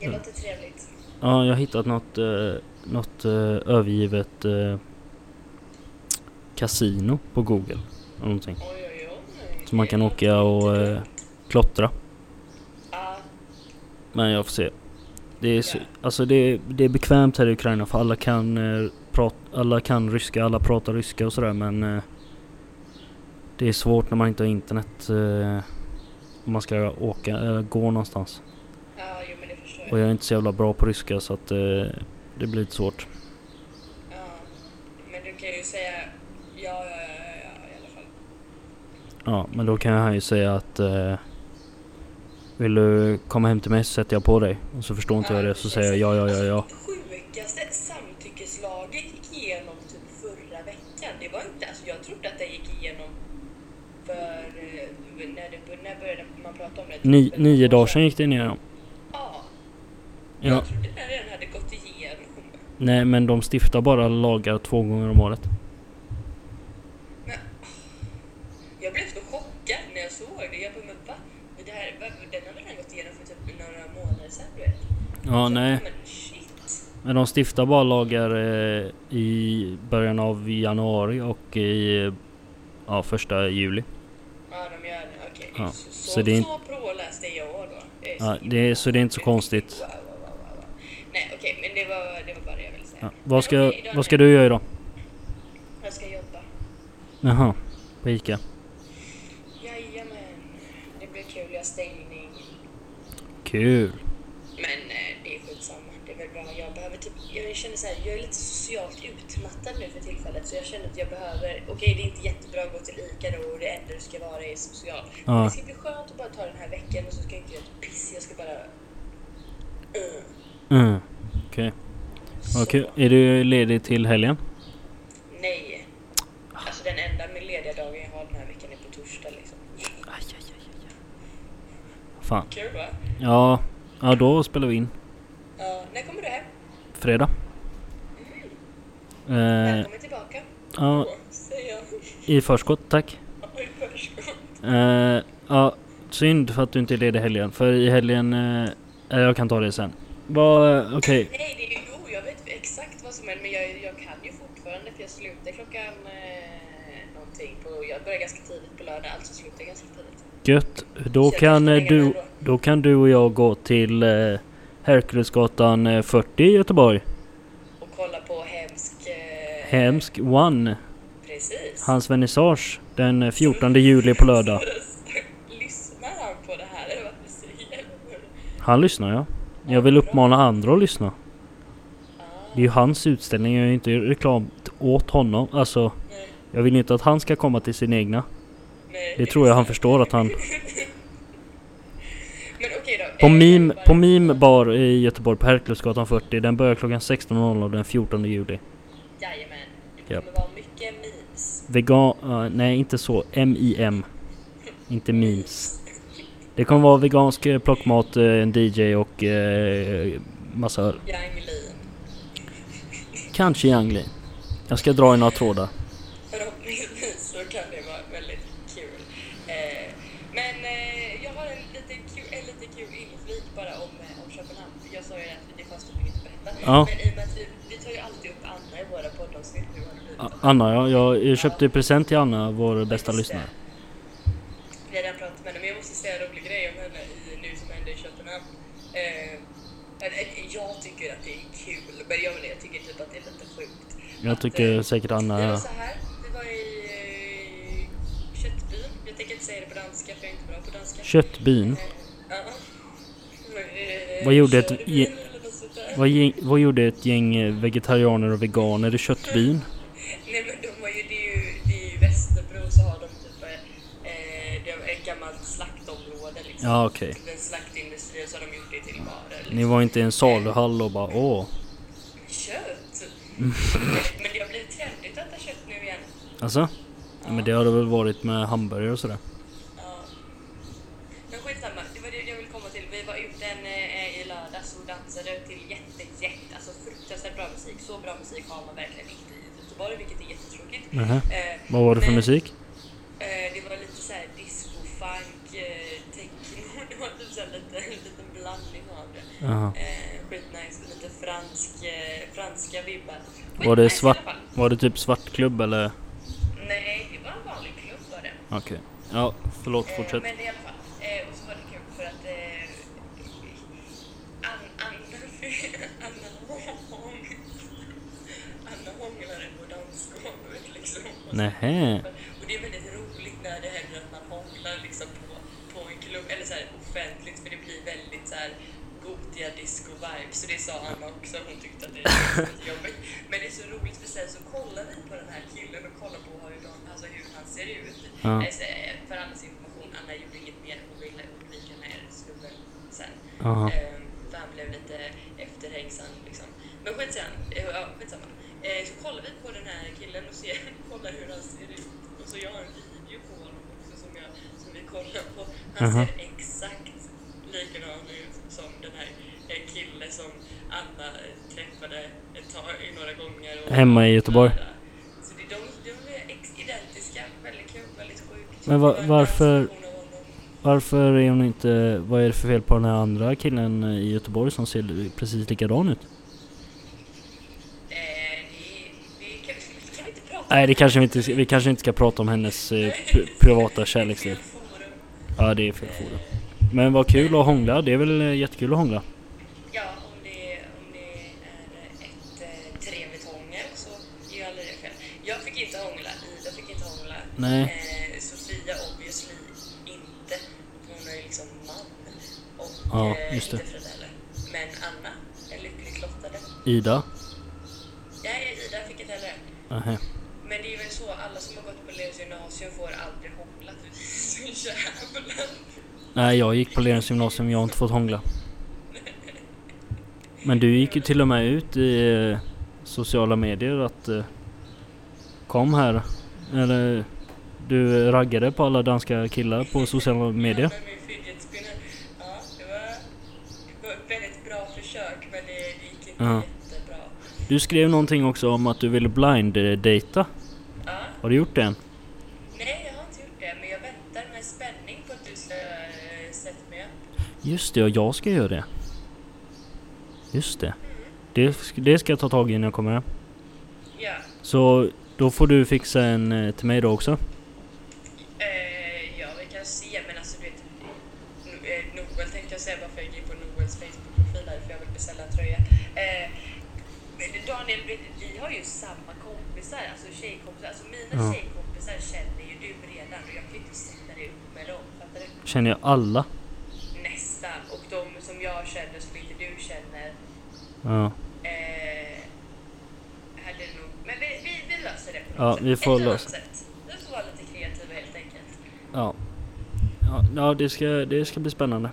Det låter trevligt. Ja, jag har hittat något, eh, något eh, övergivet eh, kasino på Google. eller Någonting. Oj, oj, oj. Så man kan åka och eh, klottra. Ja, Men jag får se. Det är, så, Ja. alltså det, är- det är bekvämt här i Ukraina för alla kan, eh, prat, alla kan ryska, alla pratar ryska och sådär men eh, det är svårt när man inte har internet eh, om man ska åka, eller gå någonstans. ja, jo men det förstår Och jag. jag är inte så jävla bra på ryska så att eh, det blir lite svårt. Ja. Men du kan ju säga ja, ja, ja, ja, ja i alla fall. Ja, men då kan han ju säga att eh, Vill du komma hem till mig så sätter jag på dig. Och så förstår inte jag det så säger jag ja, ja, ja, ja. Alltså, Sjukaste samtyckeslagen gick igenom typ förra veckan. Det var inte, alltså jag trodde att den gick igenom för, eh, när, det, när började man prata om det? Typ Ni, för nio några år dagar sedan gick det ner. Ja, Ja. jag trodde den redan hade gått igenom. Nej, men de stiftar bara lagar två gånger om året. Men, jag blev så chockad när jag såg det. Jag bara, men va? Men det här, va? Den har väl redan gått igenom för typ några månader sedan du vet? Ja, Så, nej. Men shit. Men de stiftar bara lagar eh, i början av januari och i eh, ja, första juli. Ja, de gör det. Okej. Ja, Så, så, så det är så påläst är jag då. Det är så Ja, himla- det, är- så det är inte så konstigt. Wow, wow, wow, wow, wow. Nej, okej, men det var, det var bara det jag ville säga. Ja. Men Vad, ska, okej, vad ska Daniel, du göra idag? Jag ska jobba. Jaha, på Ica. Jajamän. Det blir kul, jag har stängning. Kul. Men eh, det är skitsamma, det är väl bra. Jag behöver typ, jag känner så här, jag är lite socialt utmattad nu för tillfället så jag känner att jag behöver, okej det är inte jättebra att gå till ICA då och det enda du ska vara är social. Men Ja. det ska bli skönt att bara ta den här veckan och så ska jag inte göra ett piss, jag ska bara... Mm. Mm. Okej. Så. Vad kul. Är du ledig till helgen? Nej. Alltså den enda med lediga dagen jag har den här veckan är på torsdag liksom. Aj, aj, aj, aj, aj. Fan. Kul va? Ja, ja då spelar vi in. Ja, när kommer du hem? Fredag. Eh, Välkommen tillbaka. ja, Då, Säger jag. i förskott tack. Ja, i förskott. Eh, ja, synd för att du inte är ledig helgen. För i helgen... Eh, eh, jag kan ta det sen. Vad... eh, Okej. Nej, det är ju, jo, jag vet exakt vad som händer men jag, jag kan ju fortfarande för jag slutar klockan eh, någonting på, jag börjar ganska tidigt på lördag, alltså slutar jag ganska tidigt. Gött. Då kan, eh, du, då kan du och jag gå till eh, Herkulesgatan eh, 40 i Göteborg. Och kolla på hemsk... Eh, Hemsk One. Precis. Hans vernissage den eh, 14 juli på lördag. Lyssnar han på det här eller vad du säger? Han lyssnar ja. Jag vill uppmana andra att lyssna. Det är ju hans utställning, jag är ju inte reklam åt honom. Alltså, Nej, jag vill ju inte att han ska komma till sin egna. nej, Det tror jag han förstår att han... Men okej då. På eh, Meme, bara- på meme bar i Göteborg på Herkulesgatan 40, den börjar klockan 16.00 den 14 juli. Jajamän. Det Japp. kommer vara mycket memes. Vegan... eh, nej, inte så. M-I-M. Inte memes. Det kommer vara vegansk eh, plockmat, eh, en DJ och eh, massa öl. Yanglin. Kanske Yang Jag ska dra i några trådar. Förhoppningsvis så kan det vara väldigt kul. Eh, men eh, jag har en liten kul, en liten kul inflik bara om, eh, om Köpenhamn. För Jag sa ju att det fanns typ inget att berätta. Ja. Men i och med att vi, vi tar ju alltid upp Anna i våra poddavsnitt. Nu har det blivit A- om- Anna, ja, jag eh, köpte ju present till Anna, vår bästa Just det. lyssnare. Vi har redan pratat med henne, men jag måste säga en rolig grej om henne i nu som hände i Köpenhamn. Eh, eller, eller, jag tycker att det är kul, men jag, menar, jag tycker typ att det är lite sjukt. Jag Att, tycker eh, säkert Det var Anna... så här, vi var i eh, köttbyn. Jag tänker inte säga det på danska för jag är inte bra på danska. Köttbyn. Eh, ja. Eh, Vad gjorde ett- körbyn eller något sånt där. Vad, gäng, vad gjorde ett gäng eh, vegetarianer och veganer i köttbyn? Nej men de var ju, det är ju, det är ju Västerbro så har de typ eh, det är ett gammalt slaktområde liksom. Ja, okej. Typ en slaktindustri liksom, och så har de gjort det till barer. Ni var inte i en saluhall och bara åh. Kött! Men det har blivit trendigt att äta kött nu igen. Alltså? Ja, men det har det väl varit med hamburgare och sådär. Ja. Men skitsamma, det var det jag ville komma till. Vi var ute en, eh, i lördags och dansade till jätte, jätte, alltså fruktansvärt bra musik. Så bra musik har man verkligen inte i Göteborg, vilket är jättetråkigt. Nähä. Eh, Vad var det för men, musik? Eh, det var lite så här disco, funk, eh, techno. Det var typ så här lite, en liten blandning av det. Jaha. Eh, skitnice, lite fransk, eh, franska vibbar. Var det Skitnice i svart- alla fall. Var det typ svartklubb eller? Nej, det var en vanlig klubb var det. Okej. Ja, förlåt. Eh, Fortsätt. Men i alla fall. Eh, och så var det kul för att eh, An, Anna, Anna, Hång, Anna hånglade på dansgolvet liksom. Och så- Nähä. Och det är väldigt roligt när det händer att man hånglar liksom på, på en klubb, eller så här offentligt, för det blir väldigt så här gotiga disco-vibes. Så det sa Anna också, hon tyckte att det var lite jobbigt. Men det är så roligt för sen så kollar vi på den här killen och kollar på hur, de, alltså hur han ser ut. Ja. Eh, så, eh, För Annas information, Anna gjorde inget mer, hon ville undvika mer snubben sen. Jaha. Ehm, För han blev lite efterhängsan liksom. Men skitsamma. eh, Ja, skitsamma. Eh, Så kollar vi på den här killen och ser, kollar hur han ser ut. Och så jag har en video på honom också som, jag, som vi kollar på. Han Aha. ser exakt likadan ut som den här eh, killen som Anna eh, träffade ett tag, några gånger. Och Hemma i Göteborg. Så det, de, de är ex- identiska. Väldigt kul, väldigt sjukt. Men va- Det var en varför- transaktion av honom. Varför är hon inte... Vad är det för fel på den här andra killen i Göteborg som ser precis likadan ut? Eh, det, det kan, vi- kan vi inte prata Nej, det kanske vi inte... Vi kanske inte ska prata om hennes eh, pri- privata Det är kärleksliv. fel forum. Ja, det är fel forum. Men vad kul att hångla. Det är väl eh, jättekul att hångla. Ja, om det, om det är ett eh, trevligt hångel så är ju aldrig det fel. Jag fick inte hångla, Ida fick inte hångla. Nej. Eh, Sofia obviously inte. Hon är ju liksom man. Och Ja, eh, just det. inte Fred heller. Men Anna är lyckligt lottade. Ida? Nej, Ida fick inte heller. Nähä. Men det är väl så, alla som har gått på Leos gymnasium får aldrig hångla. Vi är så jävla... Nej, jag gick på Lerums gymnasium. Jag har inte fått hångla. Men du gick ju till och med ut i eh, sociala medier att... Eh, kom här. Eller... Du raggade på alla danska killar på sociala medier. Ja, med min fidget spinner. Ja, det var, det var ett väldigt bra försök men det, det gick inte Ja. jättebra. Du skrev någonting också om att du ville blind-data. Ja, Har du gjort det än? nej, jag har inte gjort det men jag väntar med spänning på att du ska eh, sätta mig upp. Just det, och jag ska göra det. Just det. Det, sk- det ska jag ta tag i när jag kommer hem. Ja, Så då får du fixa en eh, till mig då också. eh, ja, vi kan se men alltså du vet. No- eh, Noel tänkte jag säga bara för jag gick på Noels Facebook-profil där för jag vill beställa en tröja. Eh, men Daniel, vet du, vi har ju samma kompisar, alltså tjejkompisar. Alltså mina Ja. tjejkompisar känner ju du redan och jag kan ju inte sätta dig upp med dem. Fattar du? Känner jag alla. nästan. Och de som jag känner som inte du känner Ja. eh, hade nog... Men vi, vi, vi löser det på Ja, något sätt. vi får Ett eller annat lösa- sätt. Vi får vara lite kreativa helt enkelt. Ja, ja, ja det, ska, det ska bli spännande.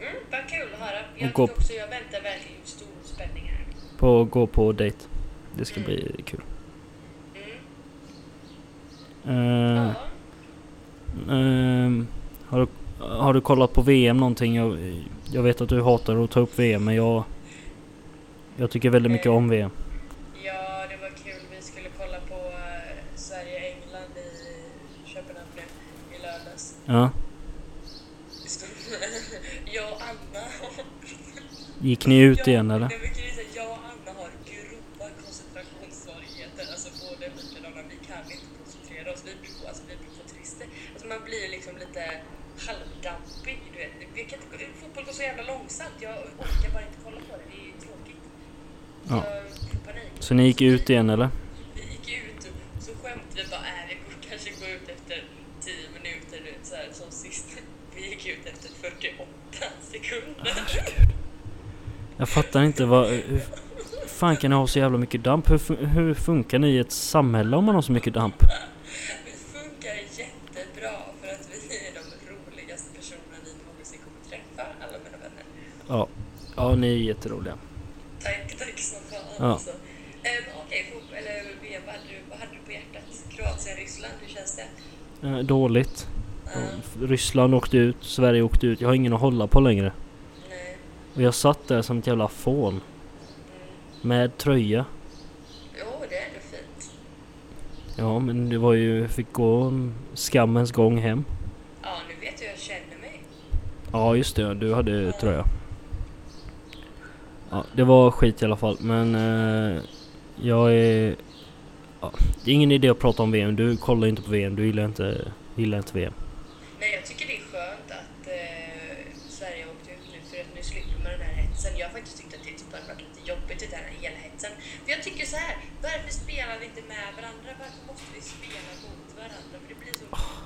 Mm, vad kul att höra. Jag, Och vet gå- också, jag väntar verkligen med stor spänning här. På att gå på dejt. Det ska bli kul. Mm. Eh, Ja. ehm, har, du, har du kollat på VM någonting? Jag, jag vet att du hatar att ta upp VM men jag... Jag tycker väldigt mycket om VM. ja, det var kul. Vi skulle kolla på eh, Sverige-England i Köpenhamn nu i lördags. Ja. Det stod- jag och Anna Gick ni ut igen Ja, eller? Nej, men kan jag, säga, jag och Anna har grova koncentrationssvårigheter. Alltså båda är likadana. Vi kan inte koncentrera oss. Vi blir, på- alltså, vi blir för trista. Alltså, man blir liksom lite halvdampig. Du vet. Vi kan inte, gå- fotboll går så jävla långsamt. Jag orkar bara inte kolla på det. Det är tråkigt. Ja. Jag får panik. Så ni gick ut igen eller? Vi gick ut och så skämtade vi bara, äh, vi går- kanske går ut efter 10 minuter, du vet, så här, som sist. Vi gick ut efter 48 sekunder. Jag fattar inte vad... Hur fan kan ni ha så jävla mycket damp? Hur, fun- hur funkar ni i ett samhälle om man har så mycket damp? Vi funkar jättebra för att vi är de roligaste personerna ni någonsin kommer träffa, alla mina vänner. Ja. Ja, ni är jätteroliga. Tack, tack som fan Ja. alltså. Ehm, ja, Eh, fotboll, eller VM, vad hade du, vad hade du på hjärtat? Kroatien, Ryssland, hur känns det? Ehm, Eh, dåligt. Ja, Ryssland åkte ut, Sverige åkte ut. Jag har ingen att hålla på längre. nej. Och jag satt där som ett jävla fån. Med tröja. mm, Jo, det är ändå fint. Ja men det var ju, jag fick gå en skammens gång hem. Ja, nu vet du hur jag känner mig. Ja just det, du hade tröja. Ja, det var skit i alla fall men eh, jag är... Ja, det är ingen idé att prata om VM, du kollar inte på VM, du gillar inte, gillar inte VM. Nej, jag tycker det är skönt att eh, Sverige har åkt ut nu för att nu slipper man den här hetsen. Jag har faktiskt tyckt att det typ hade varit lite jobbigt det där hela hetsen. För jag tycker så här, varför spelar vi inte med varandra? Varför måste vi spela mot varandra? För det blir så,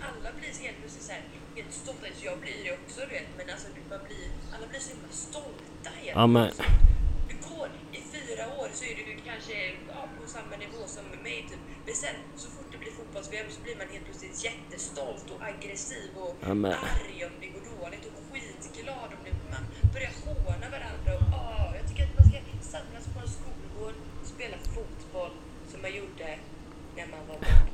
alla blir så helt plötsligt så här, helt stolta. Jag blir det också du vet, men alltså man blir, alla blir så himla stolta helt Ja men, plötsligt. Du går i fyra år så är du kanske ja, på samma nivå som mig typ. Men sen så fort det blir fotbolls-VM så blir man helt plötsligt jättestolt och aggressiv och Ja, men- arg om det går dåligt och skitglad om det. Man börjar håna varandra och ah, jag tycker att man ska samlas på en skolgård och spela fotboll som man gjorde när man var barn.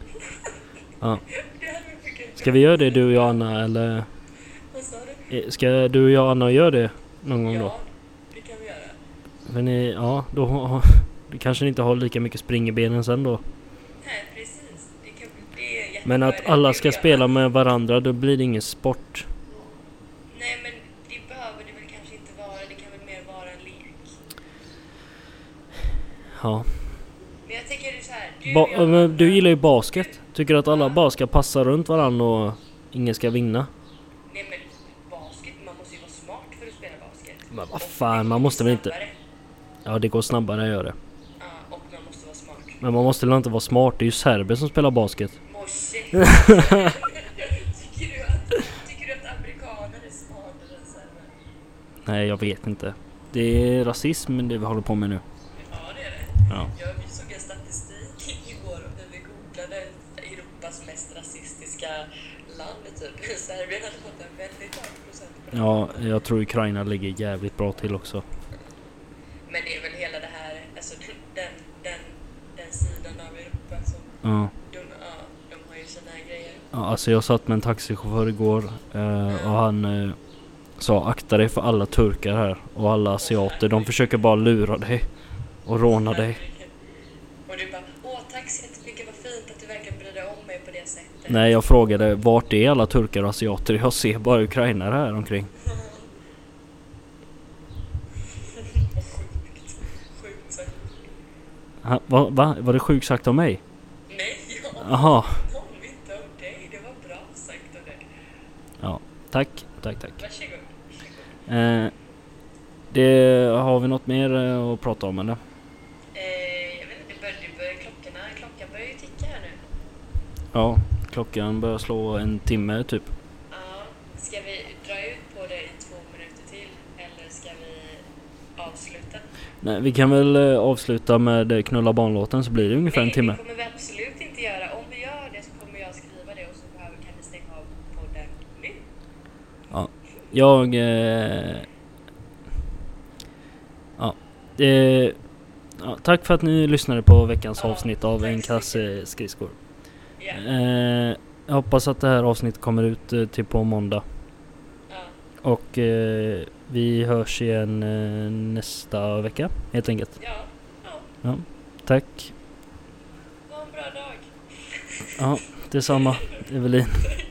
ja. det hade varit mycket Ska vi göra det du och jag Anna eller? Vad sa du? eh, Ska du och jag Anna göra det någon gång då? Ja, det kan vi göra. Men ni, ja, då har- du kanske inte har lika mycket spring i benen sen då. Nej, precis. Det, kan, det är jättebra Men att idé. alla Det ska vill jag. spela med varandra, då blir det ingen sport. Nej men det behöver det väl kanske inte vara. Det kan väl mer vara en lek. Ja. Men jag tänker så här. Du, Ba- jag- men du gillar ju basket. Tycker att alla bara ska passa runt varandra och ingen ska vinna? Nej men basket, man måste ju vara smart för att spela basket. Men vad Och Ah, fan, det går man måste väl inte- snabbare. Ja, det går snabbare, gör det. Ja, och man måste vara smart. Men man måste väl inte vara smart? Det är ju serber som spelar basket. Morse! tycker, du att, tycker du att amerikaner är smartare än serber? Nej, jag vet inte. Det är rasism det vi håller på med nu. Ja det är det. Ja. Jag såg en statistik igår när vi googlade Europas mest rasistiska land typ. Serbien hade fått en väldigt hög procent på det. Ja, jag tror Ukraina ligger jävligt bra till också. Men det är väl hela det här, alltså den, den, den sidan av Europa som Ja. de, ja, de har ju sina grejer. Ja, alltså jag satt med en taxichaufför igår eh, och han eh, sa akta dig för alla turkar här och alla asiater. De försöker bara lura dig och råna dig. Och du bara, åh tack så jättemycket, vad fint att du verkar bry dig om mig på det sättet. Nej, jag frågade vart är alla turkar och asiater? Jag ser bara ukrainare här omkring. Vad sjukt. Sjukt sagt. Ha, va, va? Var det sjukt sagt av mig? Nej, jag Jaha. om inte om dig. Det var bra sagt av dig. Ja, tack. Tack, tack. Varsågod. varsågod. Eh, det, har vi något mer eh, att prata om eller? Eh, jag vet inte, bör, det bör, klockorna, klockan börjar ju ticka här nu. Ja, klockan börjar slå en timme typ. Ja, ska vi dra ut på det i två minuter till eller ska vi avsluta? Nej, vi kan väl eh, avsluta med eh, knulla barnlåten så blir det ungefär en Nej, timme. det kommer vi absolut inte göra. Om vi gör det så kommer jag skriva det och så behöver, kan vi stänga av podden nu. Jag... Eh, ja, eh, ja, tack för att ni lyssnade på veckans Ja, avsnitt av tack En så kasse skridskor. Ja, Eh, jag hoppas att det här avsnittet kommer ut eh, till på måndag. ja. Och eh, vi hörs igen eh, nästa vecka helt enkelt. ja. ja. Tack. Ha en bra dag. Ja, detsamma Evelin.